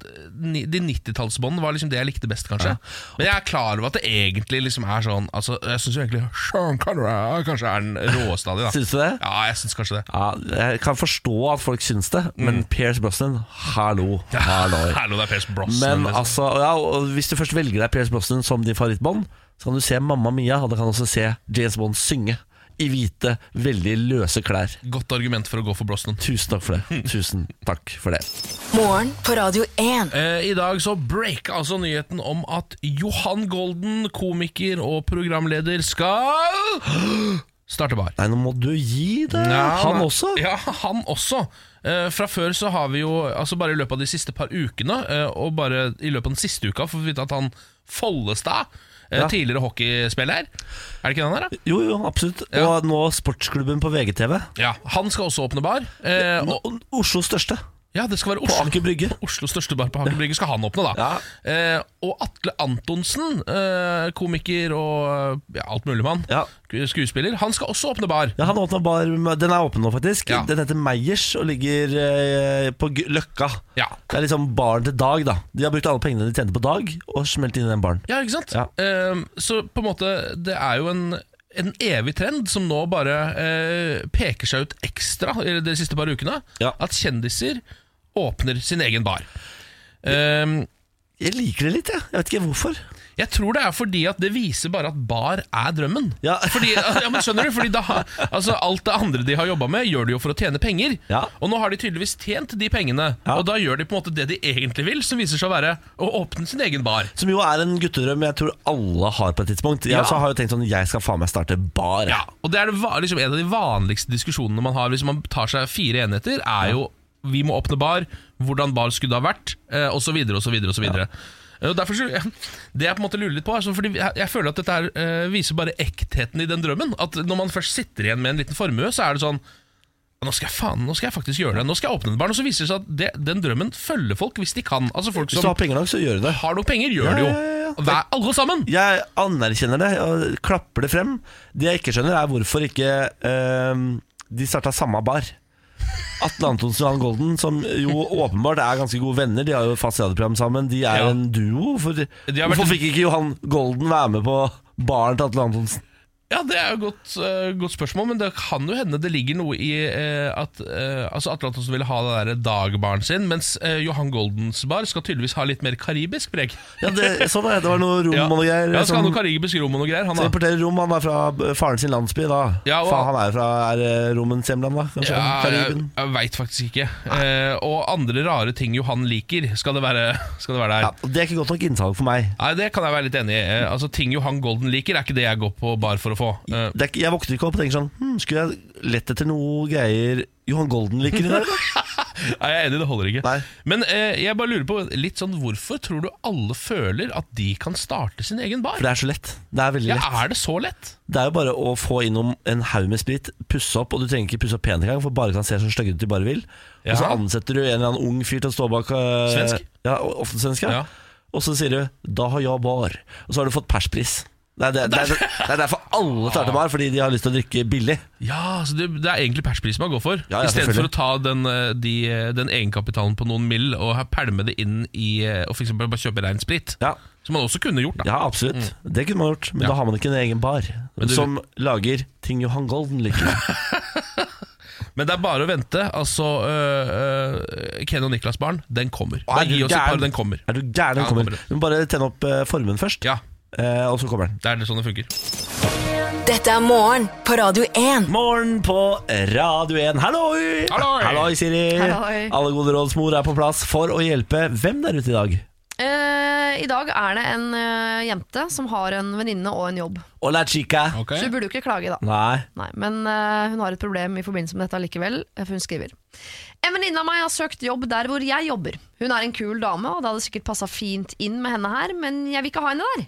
ni- De 90-tallsbåndene var liksom det jeg likte best, kanskje. Men jeg er klar over at det egentlig liksom er sånn altså, Jeg syns egentlig Sean Connery er- kanskje er den råeste av de, da. Syns du det? Ja, jeg syns kanskje det. Ja, jeg kan forstå at folk syns det, Mm. men Pierce Brosnan, hallo. Hallo. Hallo, det er Pierce Brosnan. Men liksom. altså, ja, og hvis du først velger deg Pierce Brosnan som din favorittbånd, så kan du se Mamma Mia, og du kan også se James Bond synge. I hvite, veldig løse klær. Godt argument for å gå for Brosnan. Tusen takk for Hm. det. Tusen takk for det. Morgen på Radio 1. Eh, I dag så breaka altså nyheten om at Johan Golden, komiker og programleder, skal starte bar. Nei, nå må du gi det! Ja, Han men- også? Ja, han også. Eh, fra før så har vi jo, altså bare i løpet av de siste par ukene, eh, og bare i løpet av den siste uka, får vi vite at han Follestad, eh, Ja. tidligere hockeyspiller, er det ikke den her, da? Jo, jo, absolutt. Ja. Og nå sportsklubben på VGTV. Ja, Han skal også åpne bar. Eh, og, Og Oslos største, ja, det skal være på Oslo. Aker Brygge. Oslos største bar på Aker Brygge skal han åpne, da. Eh, og Atle Antonsen, eh, komiker og ja, alt mulig mann, Ja. skuespiller, han skal også åpne bar. Ja, han åpna bar Den er åpen nå, faktisk. Ja. Den heter Meyers og ligger eh, på G- Løkka. Ja. Det er liksom baren til Dag, da. De har brukt alle pengene de tjente på Dag, og smelt inn i den baren. Ja, ikke sant? Ja. Ehm, så på en måte, det er jo en, en evig trend som nå bare eh, peker seg ut ekstra i de siste par ukene. Ja. At kjendiser åpner sin egen bar. Ehm, Jeg liker det litt, jeg. Jeg vet ikke hvorfor. jeg tror det er fordi at det viser bare at bar er drømmen. Ja. Fordi, ja, men skjønner du? Fordi da, altså, alt det andre de har jobba med, gjør de jo for å tjene penger. Ja. Og nå har de tydeligvis tjent de pengene, Ja. og da gjør de på en måte det de egentlig vil, som viser seg å være å åpne sin egen bar. Som jo er en guttedrøm jeg tror alle har på et tidspunkt. Jeg Ja. også har jo tenkt sånn Jeg skal faen meg starte bar. jeg. Ja, og det er det, va- liksom, en av de vanligste diskusjonene man har hvis man tar seg fire enheter, er jo vi må åpne bar, hvordan bar skulle det ha vært, eh, og så videre, og så videre, og så videre. Eh, Og derfor så, det jeg på en måte lurer litt på, er sånn, fordi jeg, jeg føler at dette her eh, viser bare ektheten i den drømmen. At når man først sitter igjen med en liten formue, så er det sånn nå skal jeg faen, nå skal jeg faktisk gjøre det. Nå skal jeg åpne en bar. Og så viser det seg at det, den drømmen følger folk hvis de kan. Altså folk Hvis du som har penger nok, så gjør du det. har nok penger, gjør det jo. Ja, ja, ja. Hver, alle sammen. Jeg anerkjenner det og klapper det frem. Det jeg ikke skjønner, er hvorfor ikke ehm, de starta samme bar. Atle Antonsen og Johan Golden, som jo åpenbart er ganske gode venner. De har jo fast radioprogram sammen. De er Ja. en duo. For, har vært- Hvorfor fikk ikke Johan Golden være med på baren til Atle Antonsen? Ja, det er jo et godt, eh, godt spørsmål, men det kan jo hende det ligger noe i eh, at eh, altså Atle Antonsen ville ha den der dagbaren sin, mens eh, Johan Goldens bar skal tydeligvis ha litt mer karibisk preg. Ja, det, sånn er det. Det var noe rom Ja, og noe greier. ja, skal ha som- noe karibisk rom og noe greier. Han, som da. importerer rom. Han er fra eh, faren sin landsby, da. Ja, og- Faen, han er jo fra er eh, romens hjemland, da. Kanskje. Ja, jeg, Karibien. jeg veit faktisk ikke. Eh, og andre rare ting Johan liker, skal det være, skal det være der. Ja, og det er ikke godt nok innsalg for meg. Nei, Det kan jeg være litt enig i. Eh, altså, Ting Johan Golden liker, er ikke det jeg går på bar for å få. Eh, det er, ikke- jeg våkner ikke opp og tenker sånn hm, Skulle jeg lett etter noe greier Johan Golden liker i dag? da?» Nei, jeg er enig, det holder ikke. Nei. Men eh, jeg bare lurer på litt sånn hvorfor tror du alle føler at de kan starte sin egen bar? For det er så lett Det er veldig Ja, lett Er det så lett? Det er jo bare å få innom en haug med sprit Pusse opp, og du trenger ikke pusse opp pent engang For bare kan se så sånn stygg ut du bare vil Og så Ja. ansetter du en eller annen ung fyr til å stå bak øh, Svensk? Ja, og- ofte svensk ja. Ja. Og så sier du Da har jeg bar Og så har du fått perspris det er, det, det, er, det er derfor alle starter bar Fordi de har lyst til å drikke billig Ja, så det, det er egentlig persprisen man går for. Ja, ja, I stedet for selvfølgelig. å ta den, eh, de, den egenkapitalen på noen mill og ha- pælme det inn i eh, Og for eksempel bare kjøpe rein sprit. Ja, Som man også kunne gjort, da. ja absolutt Det kunne man gjort Men da har man ikke en egen bar Mm. du- Som lager ting Johan Golden liker Men det er bare å vente. Altså, øh, øh, Ken og Niklas barn, den kommer. Er Bare du gi oss et gæren? par, den kommer. Er du gæren? Ja, Den den kommer. kommer. Du må bare tenne opp eh, formen først, Ja, eh, og så kommer den. det er det sånn det funker. Dette er morgen på Radio 1. Morgen på Radio 1. Halloi! Halloi! Halloi, Siri. Halloi. Alle gode råds mor er på plass for å hjelpe hvem der ute i dag? Eh, I dag er det en eh, jente som har en venninne og en jobb. Hola, chica. Så vi burde jo ikke klage, da. Nei. Nei, men eh, hun har et problem i forbindelse med dette likevel, eh, for hun skriver. En venninne av meg har søkt jobb der hvor jeg jobber. Hun er en kul dame, og det hadde sikkert passa fint inn med henne her, men jeg vil ikke ha henne der.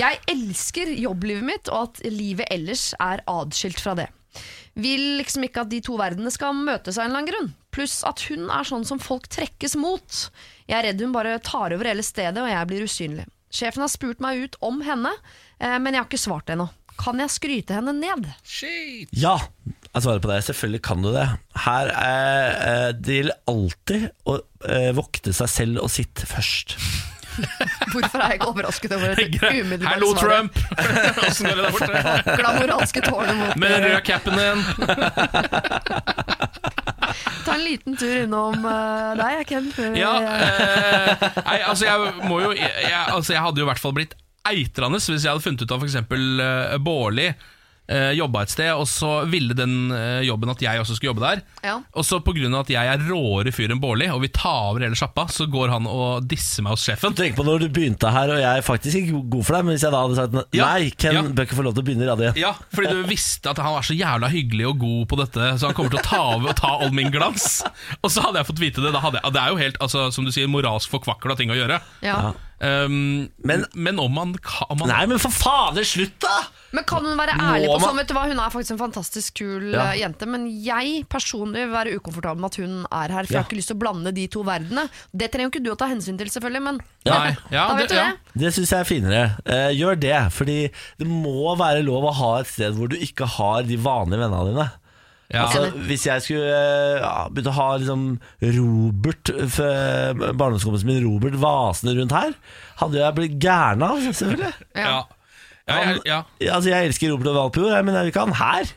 Jeg elsker jobblivet mitt, og at livet ellers er adskilt fra det. Vil liksom ikke at de to verdenene skal møtes av en eller annen grunn. Pluss at hun er sånn som folk trekkes mot. Jeg er redd hun bare tar over hele stedet, og jeg blir usynlig. Sjefen har spurt meg ut om henne, eh, men jeg har ikke svart ennå. Kan jeg skryte henne ned? Shit. Ja, jeg svarer på det. Selvfølgelig kan du det. Her eh, eh, Det gjelder alltid å eh, vokte seg selv og sitt først. Hvorfor er jeg ikke overrasket over dette Hallo, umiddelbare svaret? Trump! Åssen går det der borte? Glamoranske tårnet mot Med den røde capen din. Ta en liten tur innom eh, deg, Ken. Før Ja, jeg- eh, nei, altså jeg må jo jeg, jeg, altså jeg hadde jo i hvert fall blitt eitrende hvis jeg hadde funnet ut av f.eks. Uh, Bårli uh, jobba et sted, og så ville den eh, jobben at jeg også skulle jobbe der. Ja. Og så pga. at jeg er råere fyr enn Bårli, og vi tar over hele sjappa, så går han og disser meg hos sjefen. Tenk på når du begynte her, og jeg er faktisk ikke god for deg, men hvis jeg da hadde sagt Ja, nei, Ken ja. bør ikke få lov til å begynne i radio igjen. Ja, fordi du visste at han var så jævla hyggelig og god på dette, så han kommer til å ta over og ta all min glans. Og så hadde jeg fått vite det. Da hadde jeg, det er jo helt, altså, som du sier, moralsk forkvakla ting å gjøre. ja. Um, Men- men, om man, ka- om man Nei, men for fader, slutt, da! Men kan hun være ærlig Må på man- sånn? Vet du hva, Hun er faktisk en fantastisk kul Ja. eh, jente, men jeg personlig vil være ukomfortabel med at hun er her. For jeg Ja. har ikke lyst til å blande de to verdenene. Det trenger jo ikke du å ta hensyn til, selvfølgelig, men Nei, ja, da det- vet du ja. det. Det syns jeg er finere. Eh, gjør det, fordi det må være lov å ha et sted hvor du ikke har de vanlige vennene dine. ja. Altså, hvis jeg skulle eh, ja, begynne å ha liksom Robert eh, f- Barndomskompisen min Robert vasende rundt her, hadde jeg blitt gæren av, selvfølgelig. Ja. Ja. Ja, jeg- ja. Altså, jeg elsker Robert og Valpjord, jeg, men jeg vil ikke ha han her.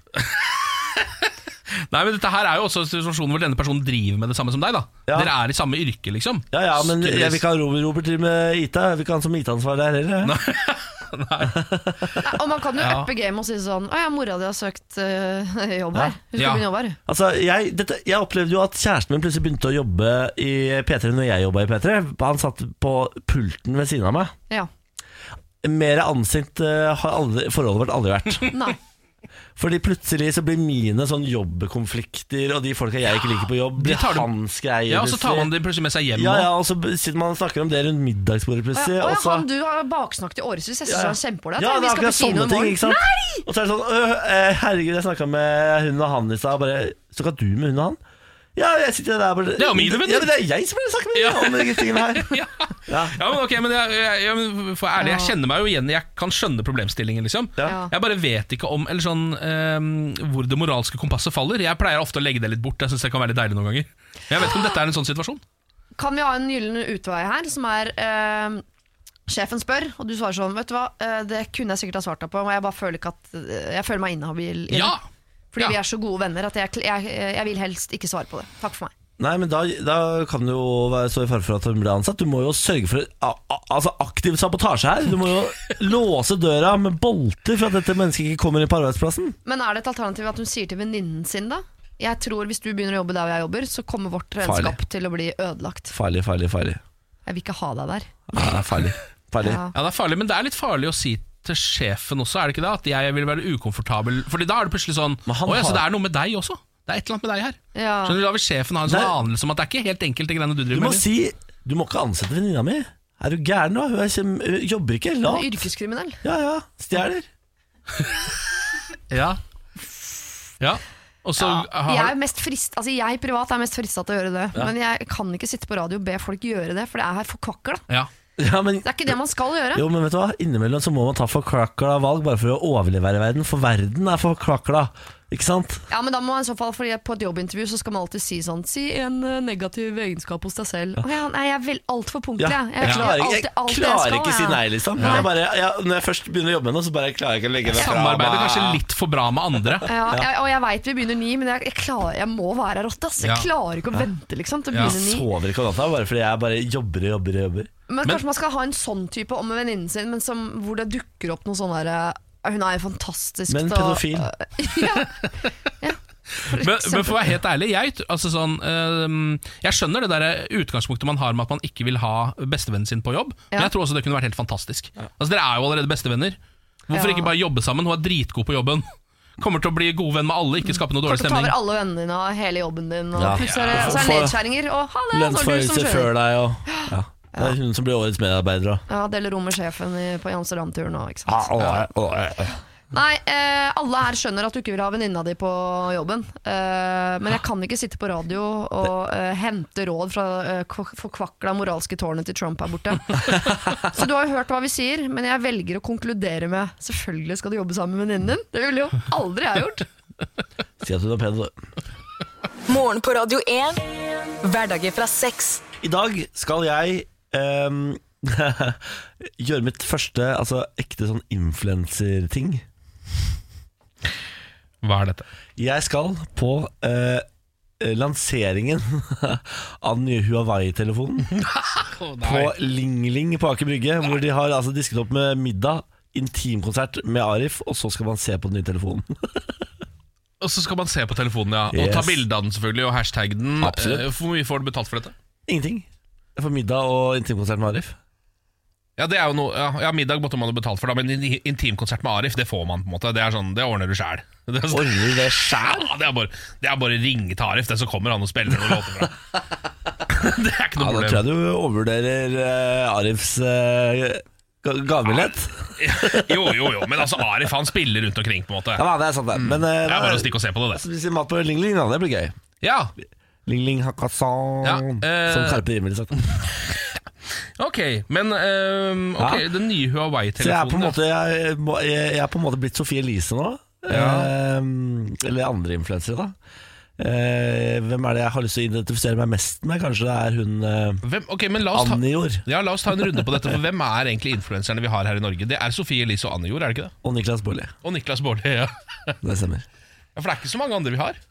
Nei, men Dette her er jo også en situasjon hvor denne personen driver med det samme som deg. da Ja. Dere er i samme yrke, liksom. Ja, ja, men Tydeligvis. jeg vil ikke ha Robert, Robert driver med Ita. Jeg vil ikke ha han som IT-ansvarlig her heller. jeg. Nei, Og man kan jo Ja. uppe gamet og si sånn Å ja, mora di har søkt eh, jobb her. Hun skal Ja. begynne å jobbe her. Altså, jeg, dette, jeg opplevde jo at kjæresten min plutselig begynte å jobbe i P3 når jeg jobba i P3. Han satt på pulten ved siden av meg. Ja. Mer anstrengt eh, har aldri, forholdet vårt aldri vært. Nei. Fordi plutselig så blir mine sånn jobbkonflikter og de folka jeg ikke liker på jobb, de blir tar du- hans greier. Ja, Og så tar man det plutselig med seg hjem. ja, ja, også. og så b- sitter man og snakker om det rundt middagsbordet Å plutselig. ja, å og ja, så, han du har baksnakket i årevis. Jeg syns ja. han er kjempeålreit. Ja, Vi det er skal akkurat ikke si noe sånne i ting. morgen. ikke sant? Nei! Og så er det sånn øh, eh, Herregud, jeg snakka med hun og han i stad. og Bare Så kan du med hun og han? Ja, jeg sitter der bare Det er jo mine venner. Ja, men det er jeg som burde snakke med Ja. om de tingene her. Ja. Ja. Ja, men ok, men jeg, jeg, jeg, men for ærlig, jeg kjenner meg jo igjen. Jeg kan skjønne problemstillingen, liksom. Ja. Jeg bare vet ikke om Eller sånn ehm, hvor det moralske kompasset faller. Jeg pleier ofte å legge det litt bort. Jeg syns det kan være litt deilig noen ganger. Men jeg vet ikke om dette er en sånn situasjon. Kan vi ha en gyllen utvei her, som er eh, Sjefen spør, og du svarer sånn Vet du hva, eh, det kunne jeg sikkert ha svart deg på, men jeg bare føler ikke at eh, Jeg føler meg inhabil. i det. Ja! Fordi Ja. vi er så gode venner at jeg, jeg, jeg vil helst ikke svare på det. Takk for meg. Nei, men da, da kan du jo være- stå i fare for at hun blir ansatt. Du må jo sørge for a, a, altså aktiv sabotasje her. Du må jo låse døra med bolter for at dette mennesket ikke kommer inn på arbeidsplassen. Men er det et alternativ at hun sier til venninnen sin, da? Jeg tror Hvis du begynner å jobbe der jeg jobber, så kommer vårt regnskap til å bli ødelagt. Farlig, farlig, farlig. Jeg vil ikke ha deg der. Ja, det er farlig. farlig. Ja. Ja, det er farlig, men det er litt farlig å si til sjefen også, er det ikke det? At jeg vil være ukomfortabel. Fordi da er det plutselig sånn Men han Å ja, så har- det er noe med deg også? Det er et eller annet med deg her. Ja. Skjønner du, Da vil sjefen ha en sånn Det er- anelse om at det er ikke helt enkelt, det greiene du Du driver må med. eller? si Du må ikke ansette venninna mi. Er du gæren nå? Hun er kjem, hun jobber ikke. Du La er yrkeskriminell. Ja, ja. Stjeler. Ja. ja. Og så Ah, Jeg, har er mest frist, altså jeg privat er mest frista til å gjøre det, men jeg kan ikke sitte på radio og be folk gjøre det, for det er her for kvakkel. da. ja. Ja, men, Det er ikke det man skal gjøre. jo, men vet du hva? Innimellom så må man ta forklakla valg bare for å overlevere verden, for verden er forklakla. Ikke sant? Ja, men da må man i så fall, fordi På et jobbintervju så skal man alltid si sånn Si en eh, negativ egenskap hos deg selv. Å ja, nei, jeg er vel altfor punktlig. Ja. jeg. Jeg Jeg klarer, gjør jeg alltid alt jeg klarer skal, ikke å si jeg. nei, liksom. Jeg bare, jeg, når jeg først begynner å jobbe med noe, så bare klarer jeg ikke å legge det fra meg. Samarbeider kanskje litt for bra med andre. Ja, jeg, og jeg veit vi begynner ni, men jeg, jeg, klarer, jeg må være her åtte. ass. Jeg Ja. klarer ikke å vente liksom, til å Ja. begynne ni. Sover ikke om natta bare fordi jeg bare jobber og jobber og jobber. Men Kanskje man skal ha en sånn type om med venninnen sin, men som, hvor det dukker opp noe sånn derre Hun er jo fantastisk Men til å- pedofil. ja, Men, men for å være helt ærlig, jeg, t- altså sånn, eh, jeg skjønner det der utgangspunktet man har med at man ikke vil ha bestevennen sin på jobb, Ja. men jeg tror også det kunne vært helt fantastisk. Altså Dere er jo allerede bestevenner. Hvorfor Ja. ikke bare jobbe sammen? Hun er dritgod på jobben. Kommer til å bli god venn med alle, ikke skape noe dårlig Kommer til å ta stemning. over alle vennene dine og hele jobben din. Og Ja. plutselig er det- Ja. og så er det Få- nedskjæringer. Og ha det, så er det du som Lønnsforhøyelse kjører. før deg og ja. Det er hun som blir årets medarbeider og Ja, Deler rom med sjefen i, på Amsterdam-turen òg, ikke sant. ah, å, å, å, å. Nei, eh, alle her skjønner at du ikke vil ha venninna di på jobben. Eh, men jeg kan ikke sitte på radio og eh, hente råd fra eh, kva- forkvakla moralske tårnet til Trump her borte. Så du har jo hørt hva vi sier, men jeg velger å konkludere med selvfølgelig skal du jobbe sammen med venninnen din. Det ville jo aldri jeg gjort. Si at hun er pen, du. Morgen på Radio 1. Hverdager fra seks. I dag skal jeg ehm, gjøre mitt første altså, ekte sånn influenserting. Hva er dette? Jeg skal på eh, lanseringen av den nye Huawei-telefonen på Lingling på Aker Brygge, hvor de har altså, disket opp med middag. Intimkonsert med Arif, og så skal man se på den nye telefonen. Og så skal man se på telefonen, ja. Og Yes. ta bilde av den, selvfølgelig, og hashtag den. Absolutt. Eh, Hvor mye får du betalt for dette? Ingenting. Jeg får middag og intimkonsert med Arif. Ja, det er jo noe, ja, ja middag måtte man jo betalt for, da, men in- intimkonsert med Arif, det får man på en måte. Det er sånn, det ordner du sjæl. Det, er- sånn- Ordner du det sjæl? ja, det er bare det er bare å ringe til Arif, det så kommer han og spiller noen låter fra. det er Ja, ikke noe da tror problem. jeg du overvurderer eh, Arifs uh, gavebillett. jo, jo, jo, men altså, Arif han spiller rundt omkring, på en måte. Ja, da, det er sant, det. Men eh, Det er da- bare å stikke og se på det, det. Spise mat på Ling Ling, da. Det blir gøy. Ja, Ling Ling Hakasan, Ja, eh, som Karpe Rim ville sagt. ok, men ehm, ok, Ja. den nye Så jeg er, på en Huawei-telefonen da. måte, jeg, må- jeg jeg er på en måte blitt Sofie Elise nå. Ja. Eh, eller andre influensere, da. Eh, hvem er det jeg har lyst til å identifisere meg mest med? Kanskje det er hun eh, Hvem, ok, men la oss ta... Anjor Ja, La oss ta en runde på dette, for hvem er egentlig influenserne vi har her i Norge? Det er Sofie Elise og Anne Jord, er det ikke det? og Niklas Baarli. Og Niklas Baarli, ja. Det stemmer. Ja, For det er ikke så mange andre vi har.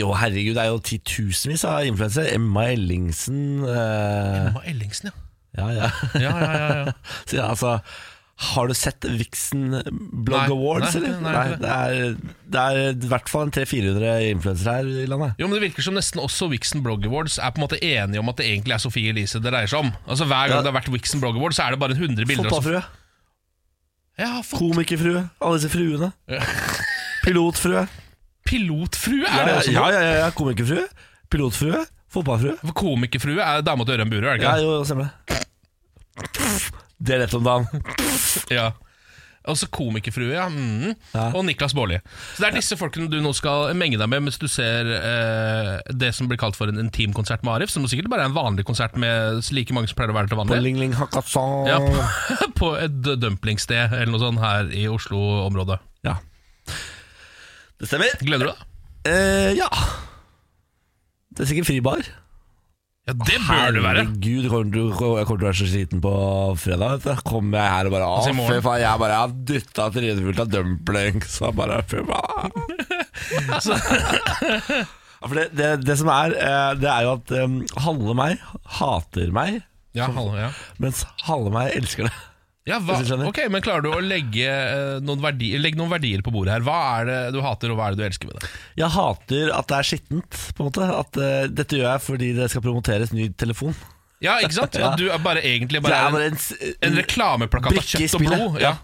Jo, herregud, det er jo titusenvis av influensere. Emma Ellingsen eh, Emma Ellingsen, ja. Ja, ja. Ja, ja, ja, ja. Så, ja, altså har du sett Vixen Blog Nei, Awards, nei, eller? nei, Nei, det, er, det er i hvert fall en 300-400 influensere her i landet. Jo, men Det virker som nesten også Vixen Blog Awards er på en måte enige om at det egentlig er Sofie Elise det dreier seg om. Altså Hver gang Ja. det har vært Vixen Blog Awards, så er det bare 100 bilder. av Sof- Fotballfrue, Ja, fot komikerfrue, alle disse fruene. Ja. Pilotfrue. Pilotfrue Ja, er det ja, også. ja, nå? ja, ja, komikerfrue, pilotfrue, fotballfrue. For Komikerfrue er dama til Ørjan Burøe, er det Ja, ikke jo, stemmer det. Det er lett om dagen. det? Ja. Og så komikerfrue, ja. mhm. Ja. Og Niklas Baarli. Så det er disse folkene du nå skal menge deg med mens du ser eh, det som blir kalt for en intimkonsert med Arif, som sikkert bare er en vanlig konsert med like mange som pleier å være til På vanlig. Ling Ling Hakkasan. Ja, Eh, på, på et dumplingsted eller noe sånt her i Oslo-området. Ja. Det stemmer. Gleder du deg? Eh, ja. Det er sikkert fribar. Ja, det bør det være. Herregud, kommer du, jeg kommer til å være så sliten på fredag. Vet du. Kommer jeg her og bare Å, Altså, i morgen. fy faen, jeg bare har dytta trynet fullt av dumplings. Og bare, fy faen. ja, for det, det, det som er, eh, det er jo at em, halve meg hater meg, Ja, hallo, ja. mens halve meg elsker det. Ja, hva, Hvis du skjønner. ok, men Klarer du å legge eh, noen, verdi, legge noen verdier på bordet her? Hva er det du hater, og hva er det du elsker med det? Jeg hater at det er skittent, på en måte. At eh, dette gjør jeg fordi det skal promoteres ny telefon. Ja, ikke sant? At du er bare egentlig Det bare, er er bare en, en, s- en reklameplakat av brikke i kjøtt og spillet. blod. Ja.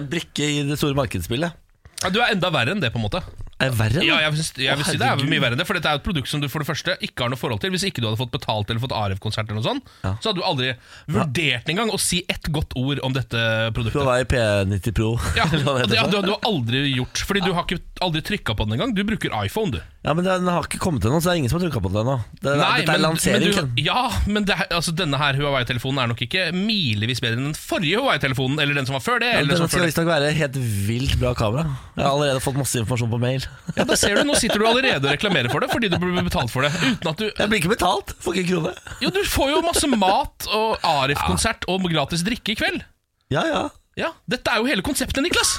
en brikke i det store markedsspillet. Ja, du er enda verre enn det, på en måte. Er jeg verre? enn det? Ja, jeg vil, si- jeg vil Å, si det er herregud. mye verre enn det, for dette er et produkt som du for det første ikke har noe forhold til. Hvis ikke du hadde fått betalt eller fått ARF-konsert, eller noe sånt, så hadde du aldri vurdert engang å si ett godt ord om dette Du produktet. har vært i P90 Pro. Ja, eller hva det heter ja for. du, du har aldri gjort Fordi du har ikke aldri trykka på den engang. Du bruker iPhone, du. Ja, men Den har ikke kommet ennå, så det er ingen som har trykka på den ennå. Det, dette er lansering. men du, ja, men det, her- altså, denne her Huawei-telefonen er nok ikke milevis bedre enn den forrige Huawei-telefonen, eller den som var før det. eller den den som var skal før det. visstnok være helt vilt bra kamera. Jeg har allerede fått masse informasjon på mail. Ja, da ser du, Nå sitter du allerede og reklamerer for det fordi du blir betalt for det. Uten at du Jeg blir ikke betalt, får ikke en krone. Jo, du får jo masse mat og Arif-konsert og gratis drikke i kveld. Ja, ja. Ja, Dette er jo hele konseptet, Niklas!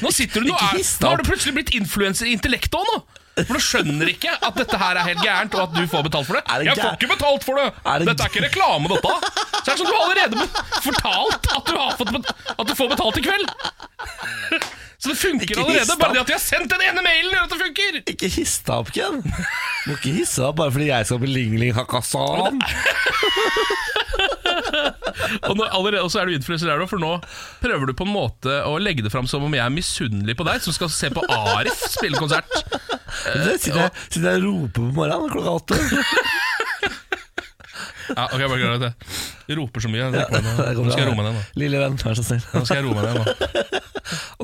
Nå sitter du, nå, Ikke er, hiss deg nå har opp. du plutselig blitt influenser i intellektet òg, nå! For nå skjønner ikke at dette her er helt gærent, og at du får betalt for det. Er det Jeg får gær- ikke betalt for det! Er det Dette er ikke reklame, dette. Så det er som du har allerede be- fortalt at du, har fått bet- at du får betalt i kveld! Så det funker Ikke hiss allerede. deg Bare det opp. at de har sendt den ene mailen, gjør at det funker! Ikke hiss deg opp, Ken. Må ikke hisse deg opp bare fordi jeg skal bli Lingling Hakasan. Og, nå, allerede, og så er du influenser der òg, for nå prøver du på en måte å legge det fram som om jeg er misunnelig på deg, som skal se på Arif spille konsert. Det Sitter jeg sitter jeg og roper på morgenen klokka åtte. Ja, ok, jeg bare gleder meg til det. Du roper så mye. Jeg drikker meg Det nå. går nå skal jeg bra. roe meg ned. nå Lille venn, vær så snill. Nå skal jeg roe meg ned nå.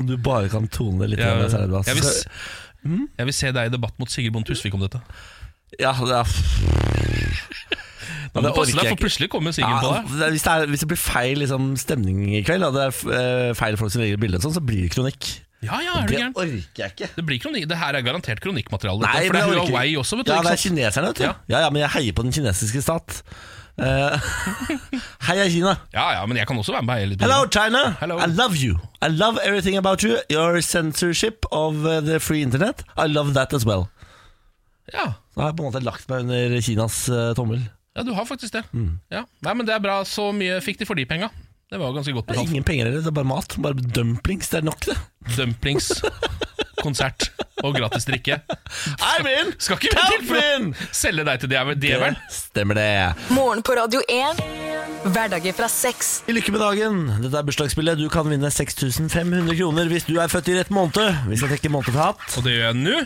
Om du bare kan tone det litt Jeg, ned, så er det bra. jeg, vil, s- jeg vil se deg i debatt mot Sigrid Bonde Tusvik om dette. Ja, det er Da det må du passe orker jeg deg, for ikke. plutselig kommer Sigrid på Ja, altså, deg. det er- hvis, det er, hvis det blir feil liksom, stemning i kveld, og det er eh, feil folk som legger bilde, sånn, så blir det kronikk. Ja, ja, er du Det gæren? orker jeg ikke. Det blir kronikk. Det her er garantert kronikkmateriale. dette, Nei, for men det er jeg orker Huawei ikke. også, vet du. Ja, det ikke er sant? kineserne, vet du. Ja. Ja. ja, men jeg heier på den kinesiske stat. Eh, Heia Kina. Ja, ja, men jeg kan også være med. Jeg, litt på Hello, det. China. Hello. I love you. I love everything about you. Your censorship of eh, the free internet. I love that as well. Ja. Så har jeg på en måte lagt meg under Kinas eh, tommel. ja, du har faktisk det. Mm. Ja. Nei, men det er bra. Så mye fikk de for de penga. Det var jo ganske godt Det er betalt. ingen penger heller, det er bare mat. Bare dumplings, det er nok, det. Dumplings, konsert og gratis drikke. I'm in! Skal ikke vi til Count for me å in! selge deg til djevelen? djevelen? Stemmer det. Morgen på Radio 1. Hverdager fra seks. I lykke med dagen. Dette er bursdagsspillet. Du kan vinne 6500 kroner hvis du er født i rett måned. Vi skal trekke månedprat. Og det gjør jeg nå.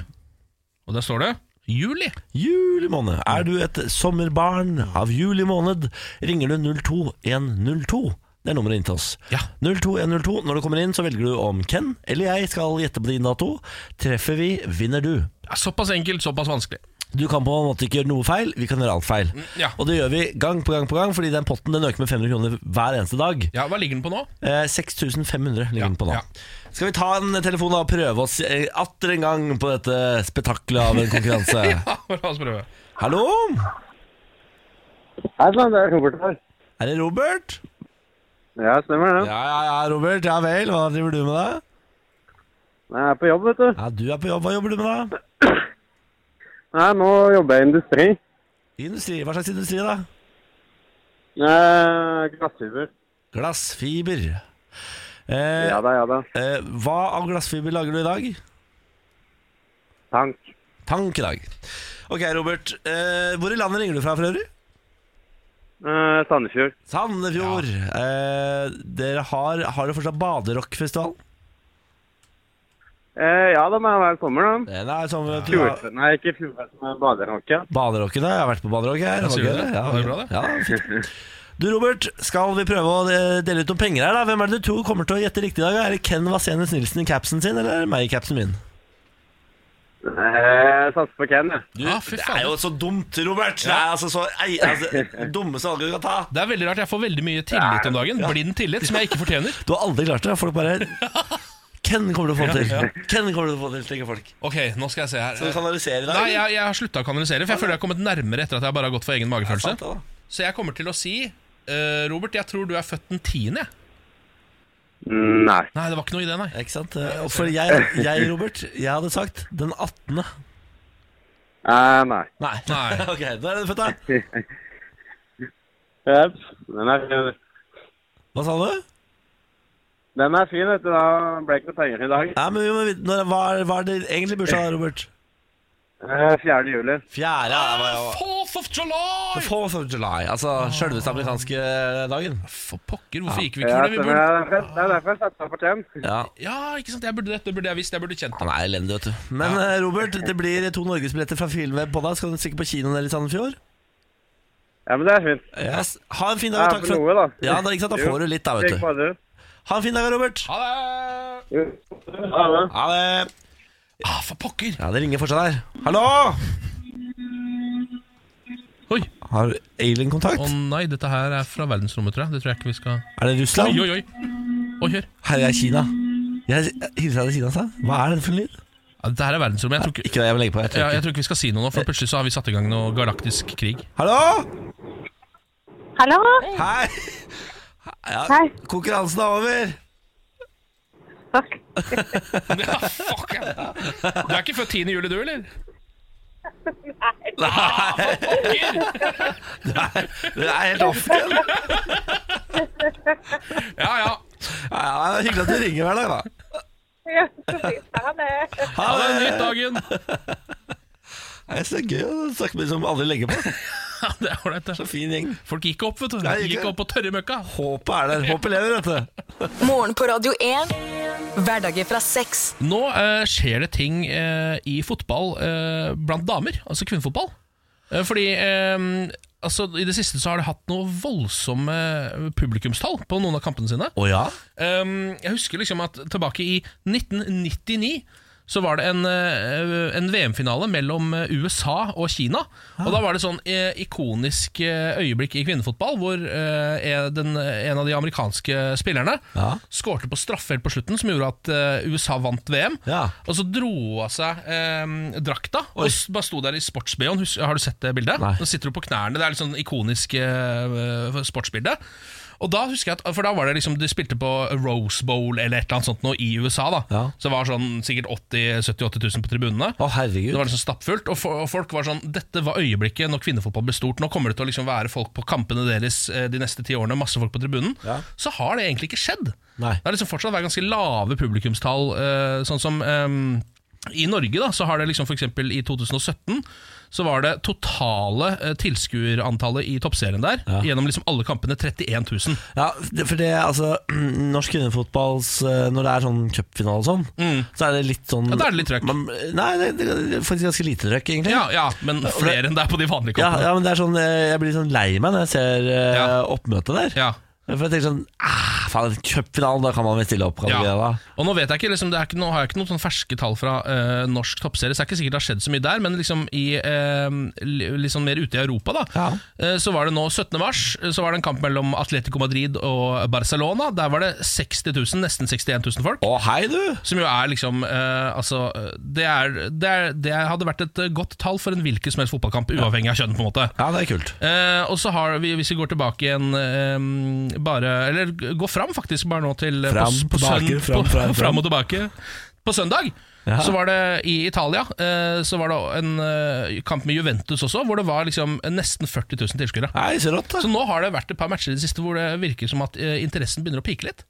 Og der står det juli. Juli måned. Er du et sommerbarn av juli måned, ringer du 02102. Det er nummeret inn til oss. Ja. 02102. Når du kommer inn, så velger du om Ken eller jeg skal gjette på din dato. Treffer vi, vinner du. Ja, såpass enkelt, såpass vanskelig. Du kan på en måte ikke gjøre noe feil, vi kan gjøre alt feil. ja. Og det gjør vi gang på gang på gang, fordi den potten den øker med 500 kroner hver eneste dag. Ja, Hva ligger den på nå? Eh, 6500 ligger den på nå. ja. Skal vi ta en telefon da og prøve oss eh, atter en gang på dette spetakkelet av en konkurranse? Ja, La oss prøve. Hallo? Hei sann, det er Robert her. Er det Robert? Ja, stemmer det. Ja, ja, ja, Robert. Ja vel. Hva driver du med, da? Nei, Jeg er på jobb, vet du. Ja, Du er på jobb. Hva jobber du med, da? Nei, Nå jobber jeg i industri. I Industri. Hva slags industri, da? Eh, Glassfiber. Glassfiber. Eh, Ja da, ja da. eh, hva av glassfiber lager du i dag? Tank. Tank i dag. Ok, Robert. Eh, hvor i landet ringer du fra for øvrig? Eh, Sandefjord. Sandefjord. Eh, dere har, har dere fortsatt baderockfestival? Eh, ja, da må jeg være sommer, da. Den er sånn vet du, da. Fjord. Nei, ikke Fjordfest, men Baderanke. Baderocken, ja. Jeg har vært på baderock her. Ja, sier du gøy, det? Ja, Det var bra, det. ja, fint. Du, Robert, skal vi prøve å eh, dele ut noen penger her, da? Hvem er det du tror kommer til å gjette riktig i dag? Er det Ken Vasenus Nilsen i capsen sin, eller er det meg i capsen min? Eh, satser på Ken, jeg. Du, Ja, Ah, fy det faen. er jo så dumt, Robert! Det er altså så ei, altså, dumme salget du kan ta. Det er veldig rart. Jeg får veldig mye tillit om dagen. Blind tillit som jeg ikke fortjener. Du har aldri klart det. Folk bare Ken kommer du til å få det til. Ken kommer du til å få det til, tenker folk. Ok, nå skal jeg se Så du her. kanaliserer i dag? Nei, jeg, jeg har slutta å kanalisere, for jeg føler jeg har kommet nærmere etter at jeg bare har gått for egen magefølelse. Sant det, da. Så jeg kommer til å si eh, Robert, jeg tror du er født den tiende. jeg. Mm, Nei. Nei, det var ikke noe i det, nei. Ikke sant? Eh, og For jeg, jeg, Robert, jeg hadde sagt den 18. Eh, nei. Nei. Nei. ok, da er du født, da. Jepp. Den er fin. Hva sa du? Den er fin, vet du. Da ble det ikke noe penger i dag. Nei, men vi må vite når, hva, er, hva er det egentlig bursdag, da, Robert? Eh, 4. juli. Fjerde ja, det var jo- Fourth of July! Fourth of July, altså selveste amerikanske dagen. For pokker, hvorfor gikk vi ikke Ja, for det? Vi stemmer. burde... det. Det er derfor- Det er derfor jeg satsa på Ken. Ja, Ja, ikke sant? Jeg burde, dette burde jeg visst. Jeg burde kjent det. Han er elendig, vet du. Men eh, Robert, det blir to norgesbilletter fra Filmweb på deg. Skal du stikke på kinoen der i Sandefjord? Ja, men det er fint. Yes. Ha en fin Det dag. er Takk for for noe, da. Ja, da, ikke sant? da får du litt, da, Tenk vet du. på det. Ha en fin dag, Robert. Ha det! Ha det. Ha det. Ah, for pokker! Ja, det ringer fortsatt her. Hallo! Oi! Har Alien kontakt? Å nei, dette her er fra verdensrommet, tror jeg. Det tror jeg ikke vi skal Er det Oi, Russland? oi, oi! Oi, hør. Her er Kina. Jeg hilser deg til Kina, sa jeg. Hva er det for en lyd? Ja, dette her er verdensrommet. Jeg tror ikke, Ikke det jeg vil legge på. Jeg ja, tror jeg ikke. tror ikke vi skal si noe nå, for plutselig så har vi satt i gang noe galaktisk krig. Hallo! Hallo? Hei! Ja, Hei. konkurransen er over. Fuck. Ja, fuck ja. Du er ikke født 10. juli, du, eller? Pokker! Det er helt off. Ja, Ja, ja. ja, det er hyggelig at du ringer hver dag, da. Ja, så fint. Ha det. Ha Ha det det. nytt dagen! Det er så gøy å snakke med de som aldri legger på. Ja, det er ålreit, det. Så fin gjeng. Folk gikk opp, vet du. Nei, ikke. Gikk opp på tørre møkka. Håpet er der. Håpet lever, vet du. Morgen på Radio 1. Hverdager fra seks. Nå eh, skjer det ting eh, i fotball eh, blant damer, altså kvinnefotball. Eh, fordi eh, altså, i det siste så har de hatt noe voldsomme publikumstall på noen av kampene sine. Å ja? Um, jeg husker liksom at tilbake i 1999 så var det en, eh, en VM-finale mellom eh, USA og Kina. Og Ah. da var det sånn eh, ikonisk eh, øyeblikk i kvinnefotball, hvor eh, er den, en av de amerikanske spillerne Ja. skårte på straffe helt på slutten, som gjorde at eh, USA vant VM. Ja. Og så dro av seg eh, drakta Oi. og s- bare sto der i sports-BH-en. Hus- Har du sett det bildet? Nei. Nå sitter du på knærne. Det er litt sånn ikonisk eh, sportsbilde. Og da husker jeg at, for da var det liksom De spilte på Rose Bowl eller et eller annet sånt nå i USA. da Ja. Så det var sånn sikkert 80 70-80 000 på tribunene. Å, herregud. Det var liksom stappfullt, og, fo- og folk var sånn Dette var øyeblikket når kvinnefotball ble stort. Nå kommer det til å liksom være folk på kampene deres eh, de neste ti årene. Masse folk på tribunen. Ja. Så har det egentlig ikke skjedd. Nei. Det har liksom fortsatt vært ganske lave publikumstall. eh, sånn som eh, i Norge, da, så har det liksom f.eks. i 2017 så var det totale eh, tilskuerantallet i toppserien der gjennom liksom alle kampene 31 000. Ja, det- for det, altså Norsk kvinnefotballs eh, Når det er sånn cupfinale og sånn, så er det litt sånn Mm. Ja, da er det litt trøkk. Man, nei, det, det er faktisk ganske lite trøkk, egentlig. Ja, ja, men flere enn det er på de vanlige Ja, kampene. ja, men det er sånn, eh, Jeg blir sånn lei meg når jeg ser eh, Ja. oppmøtet der. Ja. For jeg tenker sånn ah, Faen, cupfinalen, da kan man vel stille opp? Kan Ja. man ikke det, Og nå vet jeg ikke, liksom, det er ikke, nå har jeg ikke noen sånn ferske tall fra eh, norsk toppserie, så det er ikke sikkert det har skjedd så mye der, men liksom i, eh, li- litt sånn mer ute i Europa, da, Ja. eh, så var det nå 17. mars, eh, så var det en kamp mellom Atletico Madrid og Barcelona. Der var det 60 000, nesten 61 000 folk. da Å, hei, du! Som jo er liksom eh, Altså, det, er, det, er, det hadde vært et eh, godt tall for en hvilken som helst fotballkamp, uavhengig av kjønn, på en måte. Ja, det er kult. Eh, og så har vi, hvis vi går tilbake igjen eh, Bare, eller g- gå fram faktisk bare nå til eh, Fram, på, på tilbake, søn- fram, på, fram, fram. og tilbake På søndag Ja. så var det i Italia eh, Så var det en eh, kamp med Juventus også Hvor det var liksom nesten 40 000 tilskuere Nei, så rått, Så da. nå har det vært et par matcher i det siste Hvor det virker som at eh, interessen begynner å pike litt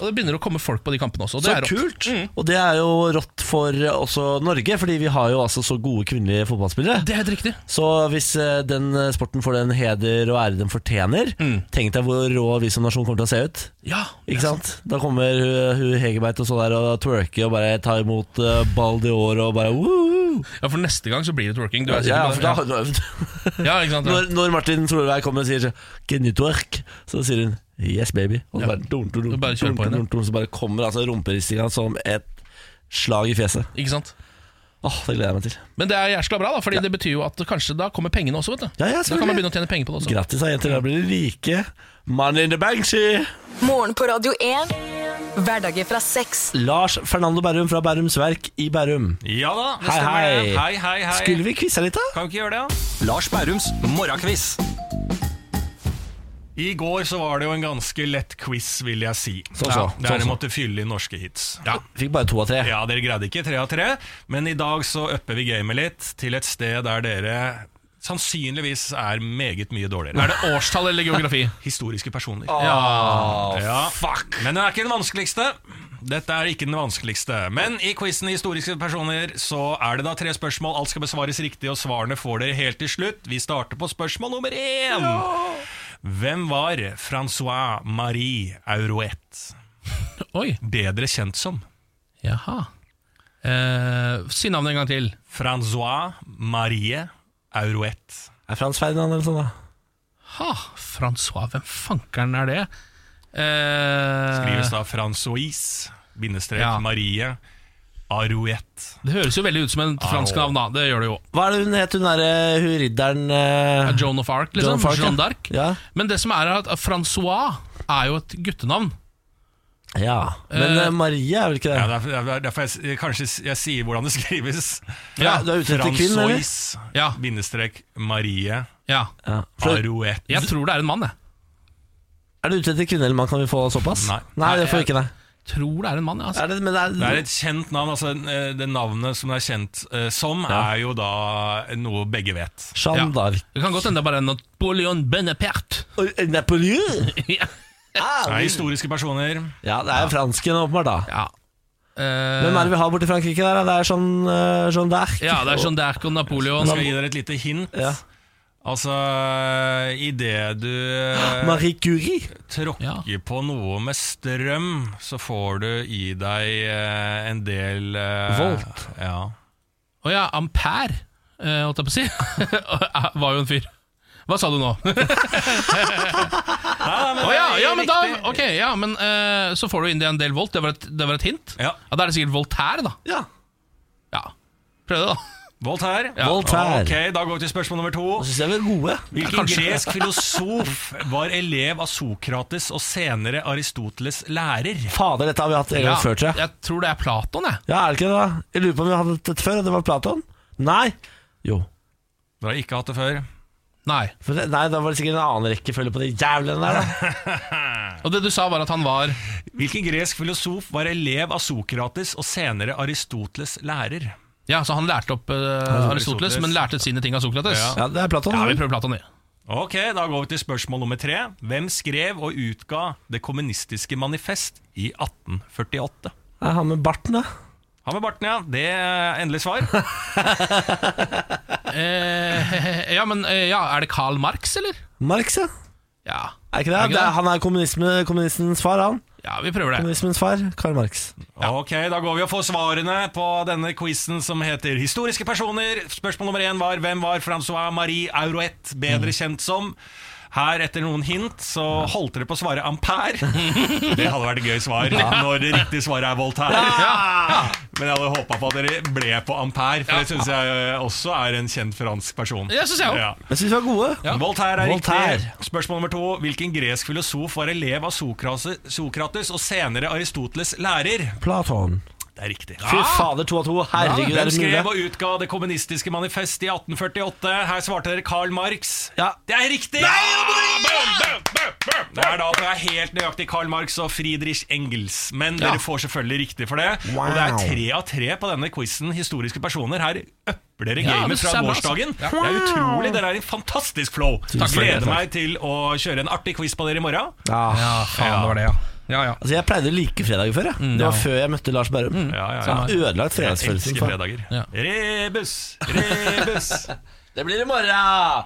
Og det begynner å komme folk på de kampene også og det Så er rått. Mm. kult! Og det er jo rått for eh, også Norge, fordi vi har jo altså så gode kvinnelige fotballspillere. Det er helt riktig Så hvis eh, den eh, sporten får den heder og ære den fortjener, tenk deg hvor rå vi som nasjon kommer til å se ut. Mm. ja, det Ikke er sant? Da kommer hun, hun Hegerberg til å stå der og twerke og bare ta imot eh, ball de år og bare woo! sant. ja, for neste gang så blir det twerking Du er sikker Ja, på for det? da, Ja. Ja, ikke sant? Ja. når, når Martin Solveig kommer og sier så, Can you twerk? Så sier hun Yes baby Og så bare, dun, dun, dun, Du bare kjører på dun, henne. dun, dun, Så bare kommer altså rumperistinga som et slag i fjeset Ikke sant? Åh, det gleder jeg meg til Men det er jæskla bra, da, fordi det betyr jo at kanskje da kommer pengene også. vet Ja, ja, du Da kan man selvfølgelig. begynne å tjene penger på det også. Grattis da jenter, da blir de rike Money in the bank, she Morgen på Radio 1. Hverdager fra seks. Lars Fernando Berrum fra Berrums Verk i Berrum Ja da, det Hei, stemmer hei. det. Hei, hei, hei. Skulle vi quizze litt da? Kan vi ikke gjøre det, da? Lars Bærums morgenkviss. I går så var det jo en ganske lett quiz, vil jeg si. så, ja, så, der så. dere måtte fylle inn norske hits. Ja. Fikk bare to av tre dere greide ikke tre av tre, men i dag så upper vi gamet litt til et sted der dere sannsynligvis er meget mye dårligere. Er det årstall eller geografi? Historiske personer. Ja. Ah, Ja. Men den er ikke den vanskeligste. Dette er ikke den vanskeligste. Men i quizen Historiske personer så er det da tre spørsmål. Alt skal besvares riktig, og svarene får dere helt til slutt. Vi starter på spørsmål nummer én. Hvem var Francois Marie Aurouet? Oi. Bedre kjent som Jaha. Eh, si navnet en gang til. Francois Marie Aurouet. Er Frans Ferdinand eller sånn da? Ha, Francois, hvem fankeren er det? Eh, Skrives da Francois bindestrek Ja. Marie Arouet. Det høres jo veldig ut som en fransk Ah, navn, da. Det gjør det jo. Hva er det hun het, hun derre hun ridderen Ja, eh, Joan of Arc, Joan liksom. of Arc, ja. Jeanne d'Arc. Ja. Men det som er er at eh, Francois er jo et guttenavn. Ja. Men Eh, eh, Marie er vel ikke det? Ja, derfor, derfor- derfor jeg, s- kanskje s- jeg sier hvordan det skrives. Ja, du er ute etter kvinnen, eller? Francois, Ja. bindestrek Marie Ja. Ja. For, Arouet. Jeg tror det er en mann, jeg. er du ute etter kvinne eller mann? Kan vi få såpass? Nei. det får vi ikke, nei. Tror det er en mann, ja. Altså. Er det, men Det er et kjent navn. altså eh, Det navnet som det er kjent eh, som, Ja. er jo da noe begge vet. Jeanne Ja. d'Arc. Det kan godt hende det er bare en Napoleon Benepert. Oi, Napoleon? ja. Det er historiske personer. Ja, det er jo fransken, åpenbart. da Ja. Eh, Hvem er det vi har borte i Frankrike der? da? Det er Jeanne, eh, Jeanne d'Arc. ja, det er Jeanne d'Arc og Napoleon. Skal jeg gi dere et lite hint? Ja. Altså, idet du eh, Marie Curie. tråkker Ja. på noe med strøm, så får du i deg eh, en del eh, Volt. Ja. Å ja, Ampere, eh, holdt jeg på å si. Var jo en fyr. Hva sa du nå? Å ja, ja, men da Ok, ja, men eh, så får du inn det en del volt. Det var et, det var et hint? Ja. ja, Da er det sikkert Voltaire, da. Ja. Ja. Prøv det, da. Voltaire. Ja. Voltaire. Ah, Ok, Da går vi til spørsmål nummer to. Og syns jeg vi er gode. Hvilken gresk filosof var elev av Sokrates og senere Aristoteles lærer? Fader, dette har vi hatt en gang Ja, før, tror jeg. jeg tror det er Platon, jeg. Ja, er det ikke det? da? Jeg lurer på om vi hadde hatt dette før, og det var Platon? Nei. Jo. Dere har ikke hatt det før. Nei. For det, nei, da var det sikkert en annen rekkefølge på de jævlene der, da. Og det du sa, var at han var Hvilken gresk filosof var elev av Sokrates og senere Aristoteles lærer? Ja, så han lærte opp eh, Aristoteles, men lærte sine ting av Sokrates. Ja, Ja, det er Platon. vi da. prøver Platon, vi. Ok, da går vi til spørsmål nummer tre. Hvem skrev og utga Det kommunistiske manifest i 1848? Det er han med barten, da. Ha med barten, ja. Det er endelig svar. Eh, ja, men eh, ja, er det Karl Marx, eller? Marx, ja. Ja. Er ikke det? Er ikke det er, det? han er kommunisme, kommunistens far, han. ja, vi prøver det. Kommunismens far, Karl Marx. Ok, da går vi og får svarene på denne quizen som heter Historiske personer. Spørsmål nummer én var hvem var Francois Marie Aurouet Mm. bedre kjent som? Her, etter noen hint, så holdt dere på å svare ampere. Det hadde vært et gøy svar når det riktige svaret er Voltaire. Men jeg hadde håpa på at dere ble på ampere, for det syns jeg eh, også er en kjent fransk person. Ja, synes jeg også. Ja. Jeg syns vi var gode. Ja. Voltaire er Voltaire. riktig. Spørsmål nummer to. Hvilken gresk filosof var elev av Sokrates, Sokrates og senere Aristoteles lærer? Platon. Det er riktig. Fy fader, to av to. Herregud, Hvem er det skrev mulig? og utga Det kommunistiske manifest i 1848? Her svarte dere Karl Marx. Ja. Det er riktig! Det er da at det er helt nøyaktig Karl Marx og Friedrich Engels. Men Ja. dere får selvfølgelig riktig for det. Og det er tre av tre på denne quizen historiske personer. Her øpler dere Ja, det gamet synes fra jeg er bra, altså. gårsdagen. Det er utrolig. Dere er i fantastisk flow. Takk for det, Gleder takk. meg til å kjøre en artig quiz på dere i morgen. Ja. faen, det var det, ja. Ja, ja. Altså, jeg pleide å like fredager før. Jeg. Det var før jeg møtte Lars Berrum. Ja, ja, Så jeg har Ødelagt Jeg fredagsfølelsen. elsker for- fredager. Ja. Rebus, rebus. Det blir i morgen!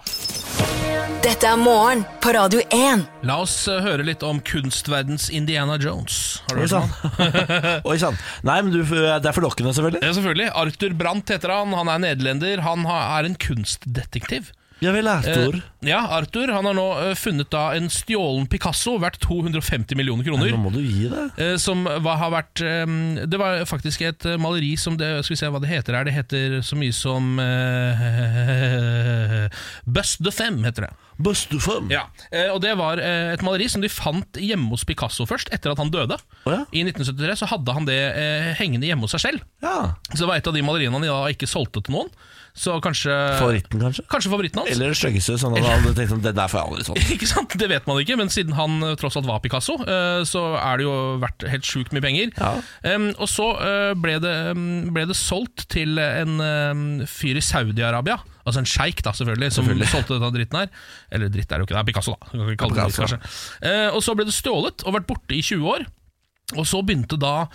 Dette er morgen på Radio 1. La oss eh, høre litt om kunstverdens Indiana Jones. Har Oi du hørt om sann. han? Oi sann. Nei, men du, det er forlokkende, selvfølgelig. Ja, selvfølgelig. Arthur Brandt heter han. Han er nederlender. Han ha- er en kunstdetektiv. Ja vel, Arthur. Eh, ja, Arthur han har nå eh, funnet da en stjålen Picasso verdt 250 millioner kroner. Nå må du gi deg. eh, Som hva har vært eh, Det var faktisk et eh, maleri som det, Skal vi se hva det heter her. Det heter så mye som eh, Bust the Fem, heter det. Bustufum. Ja, eh, og det var eh, et maleri som de fant hjemme hos Picasso først, etter at han døde. Å ja. I 1973 så hadde han det eh, hengende hjemme hos seg selv. ja. Så det var et av de maleriene han da ikke solgte til noen. Så kanskje Favoritten, kanskje? Kanskje favoritten hans. Eller det styggeste, sånn at alle tenkte sånn Det der får jeg aldri sånn. Ikke sant? Det vet man ikke, men siden han eh, tross alt var Picasso, eh, så er det jo verdt helt sjukt mye penger. Ja. Em, og så eh, ble, det, em, ble det solgt til en em, fyr i Saudi-Arabia, altså en sjeik, da, selvfølgelig, som solgte denne dritten her. Eller dritt er det jo ikke, det er Picasso, da. Kan ikke kalle det dritt, Picasso. kanskje. Eh, og så ble det stjålet og vært borte i 20 år. Og så begynte da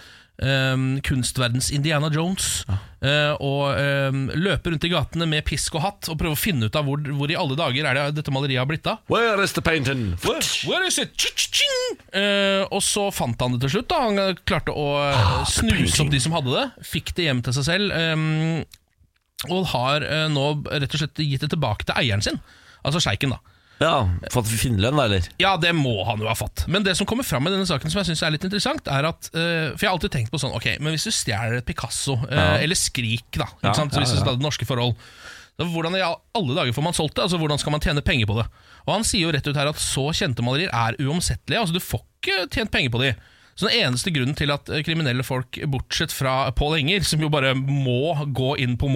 em, kunstverdens Indiana Jones eh, å em, løpe rundt i gatene med pisk og hatt og prøve å finne ut av hvor, hvor i alle dager er det dette maleriet har blitt av. Where is the painting? Where, where is it? Tch-tch-tching! Eh, og så fant han det til slutt. da Han klarte å eh, snuse opp de som hadde det. Fikk det hjem til seg selv. ehm, og har eh, nå rett og slett gitt det tilbake til eieren sin, altså sjeiken. da Ja, Fått finnerlønn, da, eller? Ja, det må han jo ha fått. Men det som kommer fram i denne saken som jeg synes er litt interessant, er at eh, For jeg har alltid tenkt på sånn Ok, men hvis du stjeler et Picasso, eh, eller Skrik, da ikke Ja, sant? Så Hvis ja, du ja. tar det norske forhold da, Hvordan i alle dager får man solgt det? Altså Hvordan skal man tjene penger på det? Og han sier jo rett ut her at så kjente malerier er uomsettelige. Altså Du får ikke tjent penger på de. Så Den eneste grunnen til at eh, kriminelle folk, bortsett fra Pål Enger, som jo bare må gå inn på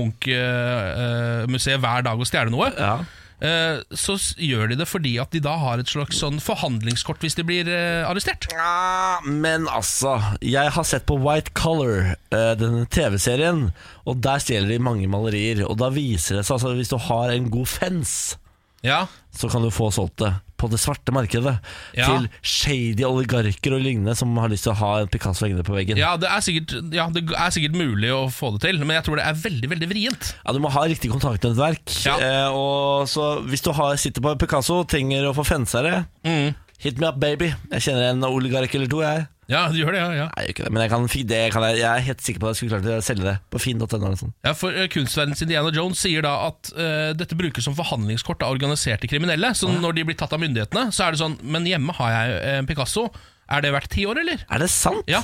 Munch-museet hver dag og stjele noe, Ja. Eh, så s- gjør de det fordi at de da har et slags sånn forhandlingskort hvis de blir eh, arrestert. Ja, Ah, men altså Jeg har sett på White Color, eh, denne TV-serien, og der stjeler de mange malerier. Og da viser det seg altså, hvis du har en god fens, Ja, så kan du få solgt det på det svarte markedet Ja. til shady oligarker og lignende som har lyst til å ha en Picasso hengende på veggen. Ja. ja, det er sikkert, ja, det er sikkert mulig å få det til, men jeg tror det er veldig veldig vrient. Du må ha riktig kontaktnettverk. Ja. Eh, og så hvis du har, sitter på en Picasso og trenger å få fensa det, Mm. hit me up, baby. Jeg kjenner en oligark eller to, jeg. Ja, det gjør det, ja, ja. Nei, jeg gjør ikke det, men jeg, kan, fi- det kan jeg, jeg er helt sikker på at jeg skulle klart å selge det på finn.no. eller sånn. ja For eh, kunstverdenens Indiana Jones sier da at eh, dette brukes som forhandlingskort av organiserte kriminelle. Så når de blir tatt av myndighetene, så er det sånn Men hjemme har jeg eh, en Picasso. Er det verdt ti år, eller? Er det sant? Ja.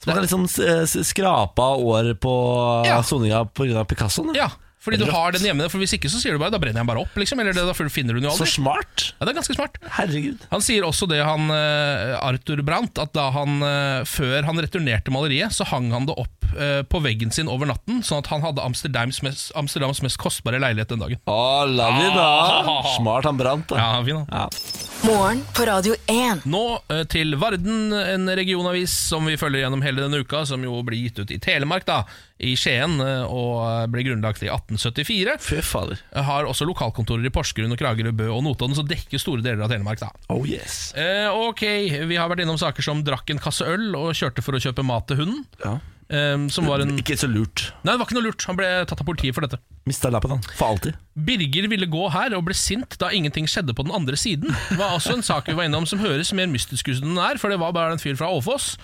Så man kan liksom eh, s- skrape av år på Ja. soninga pga. Picassoen? Ja, fordi du har den hjemme. For hvis ikke så sier du bare da brenner jeg den bare opp, liksom. Eller det, da finner du den jo Så aldri. smart! Ja, det er ganske smart. Herregud. Han sier også det, han eh, Arthur Brandt, at da han, eh, før han returnerte maleriet, så hang han det opp eh, på veggen sin over natten, sånn at han hadde Amsterdams mest, Amsterdams mest kostbare leilighet den dagen. Å, la vi da! Ah. Smart han brant, da. Ja, fin, han. Morgen på Radio 1. Nå eh, til Varden, en regionavis som vi følger gjennom hele denne uka, som jo blir gitt ut i Telemark, da, i Skien, eh, og eh, ble grunnlagt i 1874. Fy fader. Har også lokalkontorer i Porsgrunn, og Kragerø, Bø og Notodden, som dekker store deler av Telemark. da. Oh yes. Eh, ok, vi har vært innom saker som drakk en kasse øl og kjørte for å kjøpe mat til hunden. Ja. Eh, som var en... Nei, Ikke så lurt. det var ikke noe lurt. Han ble tatt av politiet for dette. Mista lappen, han. For alltid. Birger ville gå her og ble sint da ingenting skjedde på den andre siden. Det var også en sak vi var innom som høres mer mystisk ut enn den er, for det var bare en fyr fra Åfoss.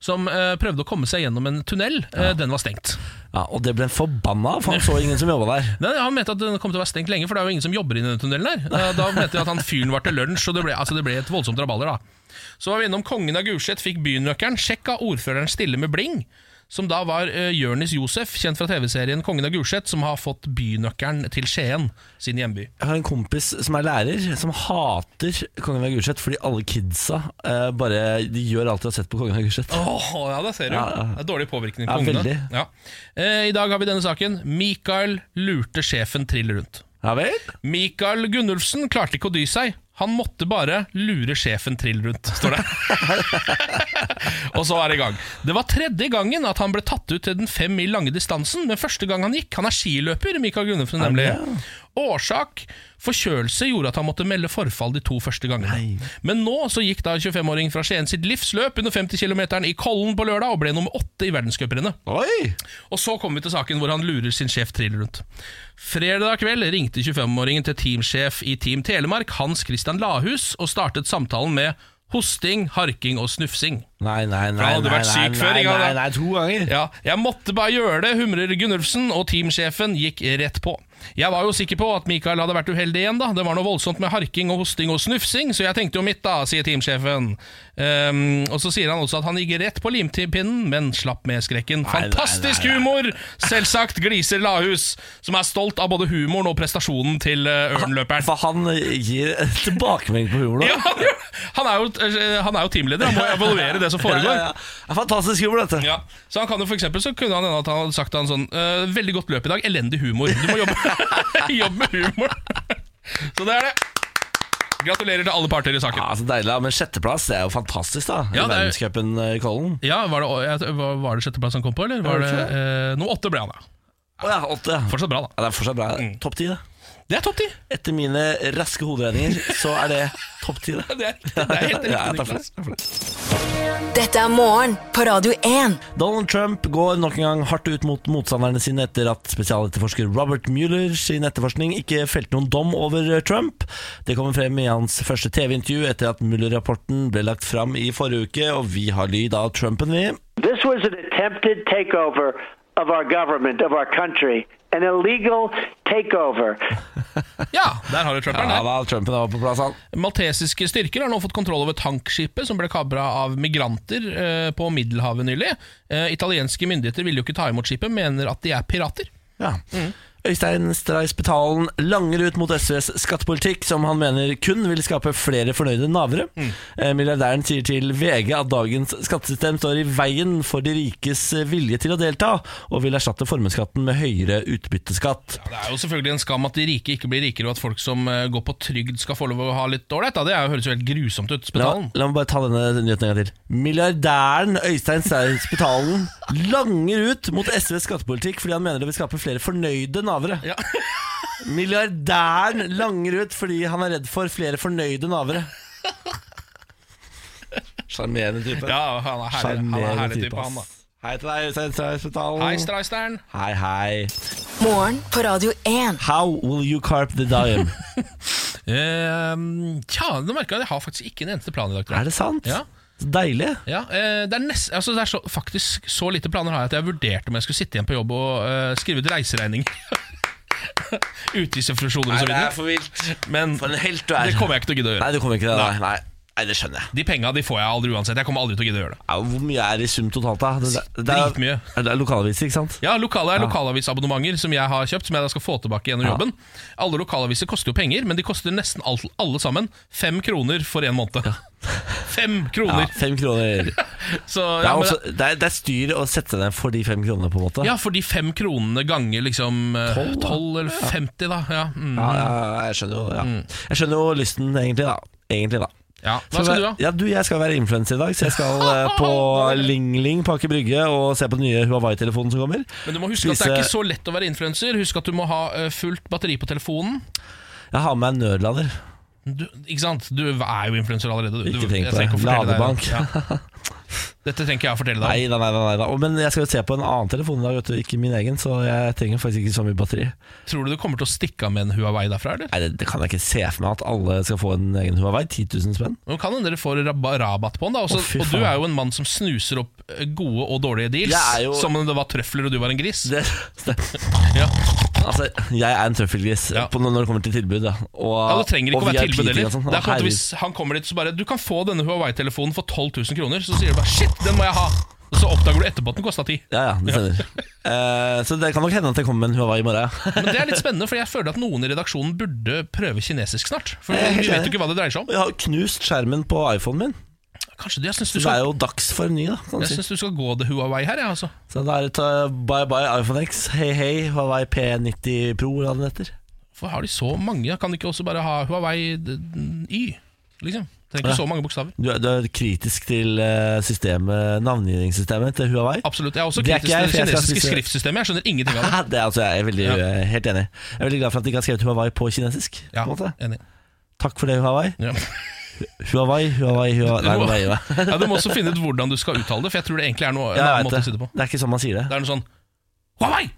Som eh, prøvde å komme seg gjennom en tunnel. Eh, den var stengt. Ja, Og det ble han forbanna av, for han så ingen som jobba der. Nei, han mente at den kom til å være stengt lenge, for det er jo ingen som jobber i denne tunnelen der. Eh, Da mente jeg at han fyren var til lunsj, og det ble, altså det ble et voldsomt rabalder, da. Så var vi innom kongen av Gulset, fikk bynøkkelen, sjekk av ordføreren stille med bling. Som da var uh, Jørnis Josef, kjent fra TV-serien Kongen av Gulset, som har fått bynøkkelen til Skien, sin hjemby. Jeg har en kompis som er lærer, som hater Kongen av Gulset fordi alle kidsa eh, bare De gjør alt de har sett på Kongen av Gulset. Åh, ja, det ser du. Ja, ja. Det er dårlig påvirkning på Ja, ungene. veldig. Ja. Eh, I dag har vi denne saken. Mikael lurte sjefen trill rundt. Ja vel? Mikael Gunnulfsen klarte ikke å dy seg. Han måtte bare lure sjefen trill rundt, står det. og så er det i gang. Det var tredje gangen at han ble tatt ut til den fem mil lange distansen, men første gang han gikk. Han er skiløper, Mikael Gunnulfsen, nemlig. Årsak forkjølelse gjorde at han måtte melde forfall de to første gangene. Men nå så gikk da 25-åringen fra Skien sitt livsløp under 50 km i Kollen på lørdag og ble nummer åtte i verdenscuprennet. Oi! Og så kommer vi til saken hvor han lurer sin sjef trill rundt. Fredag kveld ringte 25-åringen til teamsjef i Team Telemark, Hans Christian Lahus, og startet samtalen med hosting, harking og snufsing. Nei, nei, nei. hadde nei, vært nei, syk nei, før, ikke nei, sant? nei, nei, to ganger. Ja, jeg måtte bare gjøre det, humrer Gunnulfsen, og teamsjefen gikk rett på. Jeg var jo sikker på at Mikael hadde vært uheldig igjen, da. Det var noe voldsomt med harking og hosting og snufsing, så jeg tenkte jo mitt, da, sier teamsjefen. Ehm, og så sier han også at han gikk rett på limpinnen, men slapp med skrekken. Fantastisk humor! Selvsagt gliser Lahus, som er stolt av både humoren og prestasjonen til eh, ørnløperen. For han gir tilbakemelding på humoren. Ja, han, er jo, eh, han er jo teamleder, han må evaluere det som Ja, foregår. ja, ja. Det er Fantastisk humor, dette. Ja, så han kan jo for eksempel, så kunne han hende at han hadde sagt til han sånn «Eh, Veldig godt løp i dag, elendig humor. Du må jobbe, jobbe med humor. så det er det. Gratulerer til alle parter i Ja, saken. så deilig, da. Men sjetteplass det er jo fantastisk, da. Ja, I det er- verdenscupen eh, i Kollen. Ja, Var det, jeg- var- var det sjetteplass han kom på, eller? Var det det, ikke eh, nummer åtte ble han, da. Å ja, åtte. Ja. Fortsatt bra, da. Ja, det er fortsatt bra. Mm. Topp ti, det. Det er topp ti! Etter mine raske hoderegninger så er det topp ti, det. Det er, det er helt Ja, riktig. takk for det. Niklas. Takk for det. Dette er Morgen på Radio 1. Donald Trump går nok en gang hardt ut mot motstanderne sine etter at spesialetterforsker Robert Mueller sin etterforskning ikke felte noen dom over Trump. Det kommer frem i hans første TV-intervju etter at Mueller-rapporten ble lagt fram i forrige uke, og vi har lyd av Trumpen, vi. This was an attempted takeover of our government, of our country, an illegal takeover. Ja, der har du trapperen Ja der. da, Trumpen var på plass, han. Maltesiske styrker har nå fått kontroll over tankskipet som ble kabra av migranter eh, på Middelhavet nylig. Eh, italienske myndigheter vil jo ikke ta imot skipet, mener at de er pirater. Ja. Øystein Stray Spetalen langer ut mot SVs skattepolitikk, som han mener kun vil skape flere fornøyde navere. Mm. Eh, Milliardæren sier til VG at dagens skattesystem står i veien for de rikes vilje til å delta, og vil erstatte formuesskatten med høyere utbytteskatt. Det er jo selvfølgelig en skam at de rike ikke blir rikere, og at folk som eh, går på trygd skal få lov å ha litt ålreit. da. Det er jo, høres jo helt grusomt La, ut. Spetalen. la meg bare ta denne nyheten en gang til. Milliardæren Øystein Stray Spetalen langer ut mot SVs skattepolitikk fordi han mener det vil skape flere fornøyde navere. Ja. Milliardæren langer ut fordi han er redd for flere fornøyde navere. Sjarmerende type. Ja, han er herlig, han er herlig type, han da. ass. Hei til deg, Øystein Sveitspetalen. Hei, Streistern. Hei, hei. Morgen på Radio 1. How will you carp the dime? Eh, tja, nå merker jeg at jeg har faktisk ikke en eneste plan i dag. tror jeg. er det sant? Ja. Så Deilig. Ja, eh, det er, nest, altså det er så, faktisk så lite planer har jeg at jeg vurderte om jeg skulle sitte igjen på jobb og eh, skrive ut reiseregning. Utgiftsrefusjoner og så videre. for vilt. Men For en det helt du er. kommer jeg ikke til å gidde å Nei, gjøre. du kommer ikke til det. Nei, nei. nei det skjønner jeg. De penga de får jeg aldri uansett. Jeg kommer aldri til å gidde å gjøre det. Ja, hvor mye er det i sum totalt, da? Det, det, det er, Dritmye. Er det er lokalaviser, ikke sant? Ja, lokale er lokalavisabonnementer som jeg har kjøpt, som jeg da skal få tilbake gjennom jobben. Alle lokalaviser koster jo penger, men de koster nesten alt, alle sammen fem kroner for en måned. Fem Ja, kroner! fem kroner. Det Så, er, ja, men, også, det, er, det er styr å sette ned for de fem kronene, på en måte. ja, for de fem kronene ganger liksom eh, Tolv, da. 12 eller 50, da. Ja, mm. Ja, ja, ja, jeg skjønner jo ja. Jeg skjønner jo lysten, egentlig. da Egentlig da ja. Mm. Hva skal du ha? Ja, du, Jeg skal være influenser i dag, så jeg skal eh, på Ling Ling på Aker Brygge og se på den nye Huawei-telefonen som kommer. Men du må huske at det Spise- er ikke så lett å være influenser. Husk at du må ha eh, fullt batteri på telefonen. Jeg har med meg en nødlader. Du, ikke sant? Du er jo influenser allerede. Du. Ikke Du, tenk jeg på det. trenger ikke å fortelle Ladebank. deg- Ja. Dette trenger ikke jeg å fortelle deg. Nei da, nei da. nei da Og- Men jeg skal jo se på en annen telefon i dag, vet du. Ikke min egen, så jeg trenger faktisk ikke så mye batteri. Tror du du kommer til å stikke av med en Huawei derfra, eller? Nei, det, det kan jeg ikke se for meg at alle skal få en egen Huawei. 10 000 spenn. Nå kan hende dere får rab rabatt på den, da. Også, Å, fy og du faen. er jo en mann som snuser opp eh, gode og dårlige deals. Jeg er jo- Som om det var trøfler og du var en gris. Det, det, Ja. altså, jeg er en trøffelgris Ja, på, når det kommer til tilbud. Da. Og, Ja, det trenger ikke og å være VIP-ting tilbud og heller. sånn. Det er sånn at Herregud. Hvis han kommer dit så bare Du kan få denne Huawei-telefonen for 12 000 kroner. Så sier du bare shit, den må jeg ha. Og så oppdager du etterpå at den kosta 10. Ja, ja, det stemmer. Eh, så det kan nok hende at jeg kommer med en Huawei i morgen. Men det er litt spennende, for jeg føler at noen i redaksjonen burde prøve kinesisk snart. For Jeg er helt vi vet enig. jo ikke hva det dreier seg om. Jeg har knust skjermen på iPhonen min. Kanskje du, jeg syns du Så det er skal, jo dags for en ny, da. Kan du jeg si. synes du skal gå til Huawei her, jeg, ja, altså. Så da er det ta- bye bye iPhone X, hei hei Huawei P90 Pro, hva den heter. Hvorfor har de så mange? Kan de ikke også bare ha Huawei d- d- Y? Liksom. Trenger Ja. ikke så mange bokstaver. Du er, du er kritisk til eh, systemet, navngivningssystemet til Huawei? Absolutt. Jeg er også Det er kritisk ikke jeg, til det for jeg skal kinesiske spise- skriftsystemet. Jeg skjønner ingenting av det. Det er altså jeg er veldig, Ja. eh, helt enig. Jeg er veldig glad for at de ikke har skrevet Huawei på kinesisk. Ja, på en måte. enig. Takk for det, Huawei. Ja. Huawei, Huawei, Huawei Nei, Du må- nå må jeg gi meg. Ja, du må også finne ut hvordan du skal uttale det, for jeg tror det egentlig er noe, en Ja, jeg annen vet måte å si det på. Det er ikke sånn man sier Det det. er noe sånn Huawei! Nei,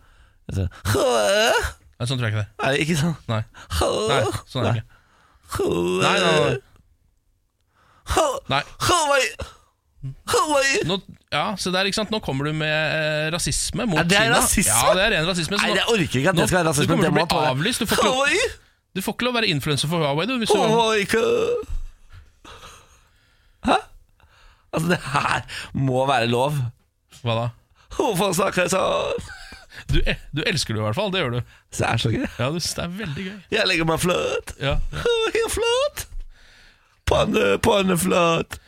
Altså, «Hå-øh», sånn tror jeg ikke det. Er det ikke sånn? Nei, «Hå-øh», nei sånn er det ikke. «Hå-øh», Nei, nei, nei. «Hå- nei. Huawei! Huawei! Nå, ja, se der, ikke sant. Nå kommer du med eh, rasisme mot Er det Kina. rasisme? Ja, det er ren rasisme. så Nei, nå- jeg orker ikke at nå- det skal være Du rasisme. kommer Det til å må bli ta det. avlyst. Du får ikke lov, Huawei! du får ikke lov å være influenser for Huawei, du. Hvis du Huawei ikke Hæ? Altså, det her må være lov. hva da? Hvorfor snakker jeg sånn? Du, eh, du elsker det i hvert fall. Det gjør du. Så Det er så gøy. Ja, du- Det er veldig gøy. Jeg legger meg flat. Ja, ja. Helt flat. Panne, panne flat.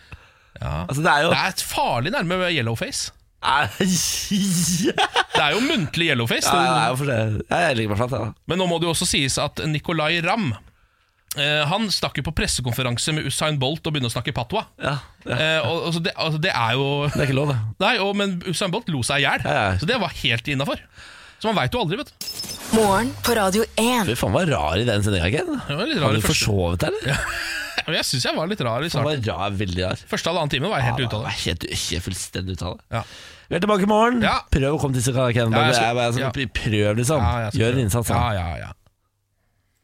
Ja. Altså, det er jo Det er farlig nærme med yellowface. Nei, Det er jo muntlig yellowface. Ja, det- ja, det er jo for det. Ja, jeg ligger meg flatt, jeg, da. Men nå må det jo også sies at Nicolay Ramm eh, han stakk jo på pressekonferanse med Usain Bolt og begynne å snakke patwa. Ja, ja. Eh, og, altså, det, altså, det er jo Det er ikke lov, det. Nei, og, men Usain Bolt lo seg i hjel, Ja, ja. så det var helt innafor. Så man veit jo aldri, vet du. Morgen på Radio 1. Fy faen, var rar i den sendinga, ikke? Det var litt rar Hadde i du første, forsovet deg, eller? Ja, men jeg syns jeg var litt rar i Han starten. var rar, veldig rar. Første halvannen time var jeg helt Ja, ute det av det. var Helt, helt fullstendig ut av det. Ja. Vi er tilbake i morgen. Ja. Prøv å komme til Sakarakenen. Ja, jeg Ja, skal- jeg bare sånn, ja. Prøv, liksom. Ja, jeg skal Gjør en prøve. innsats. da. Ja, ja, ja.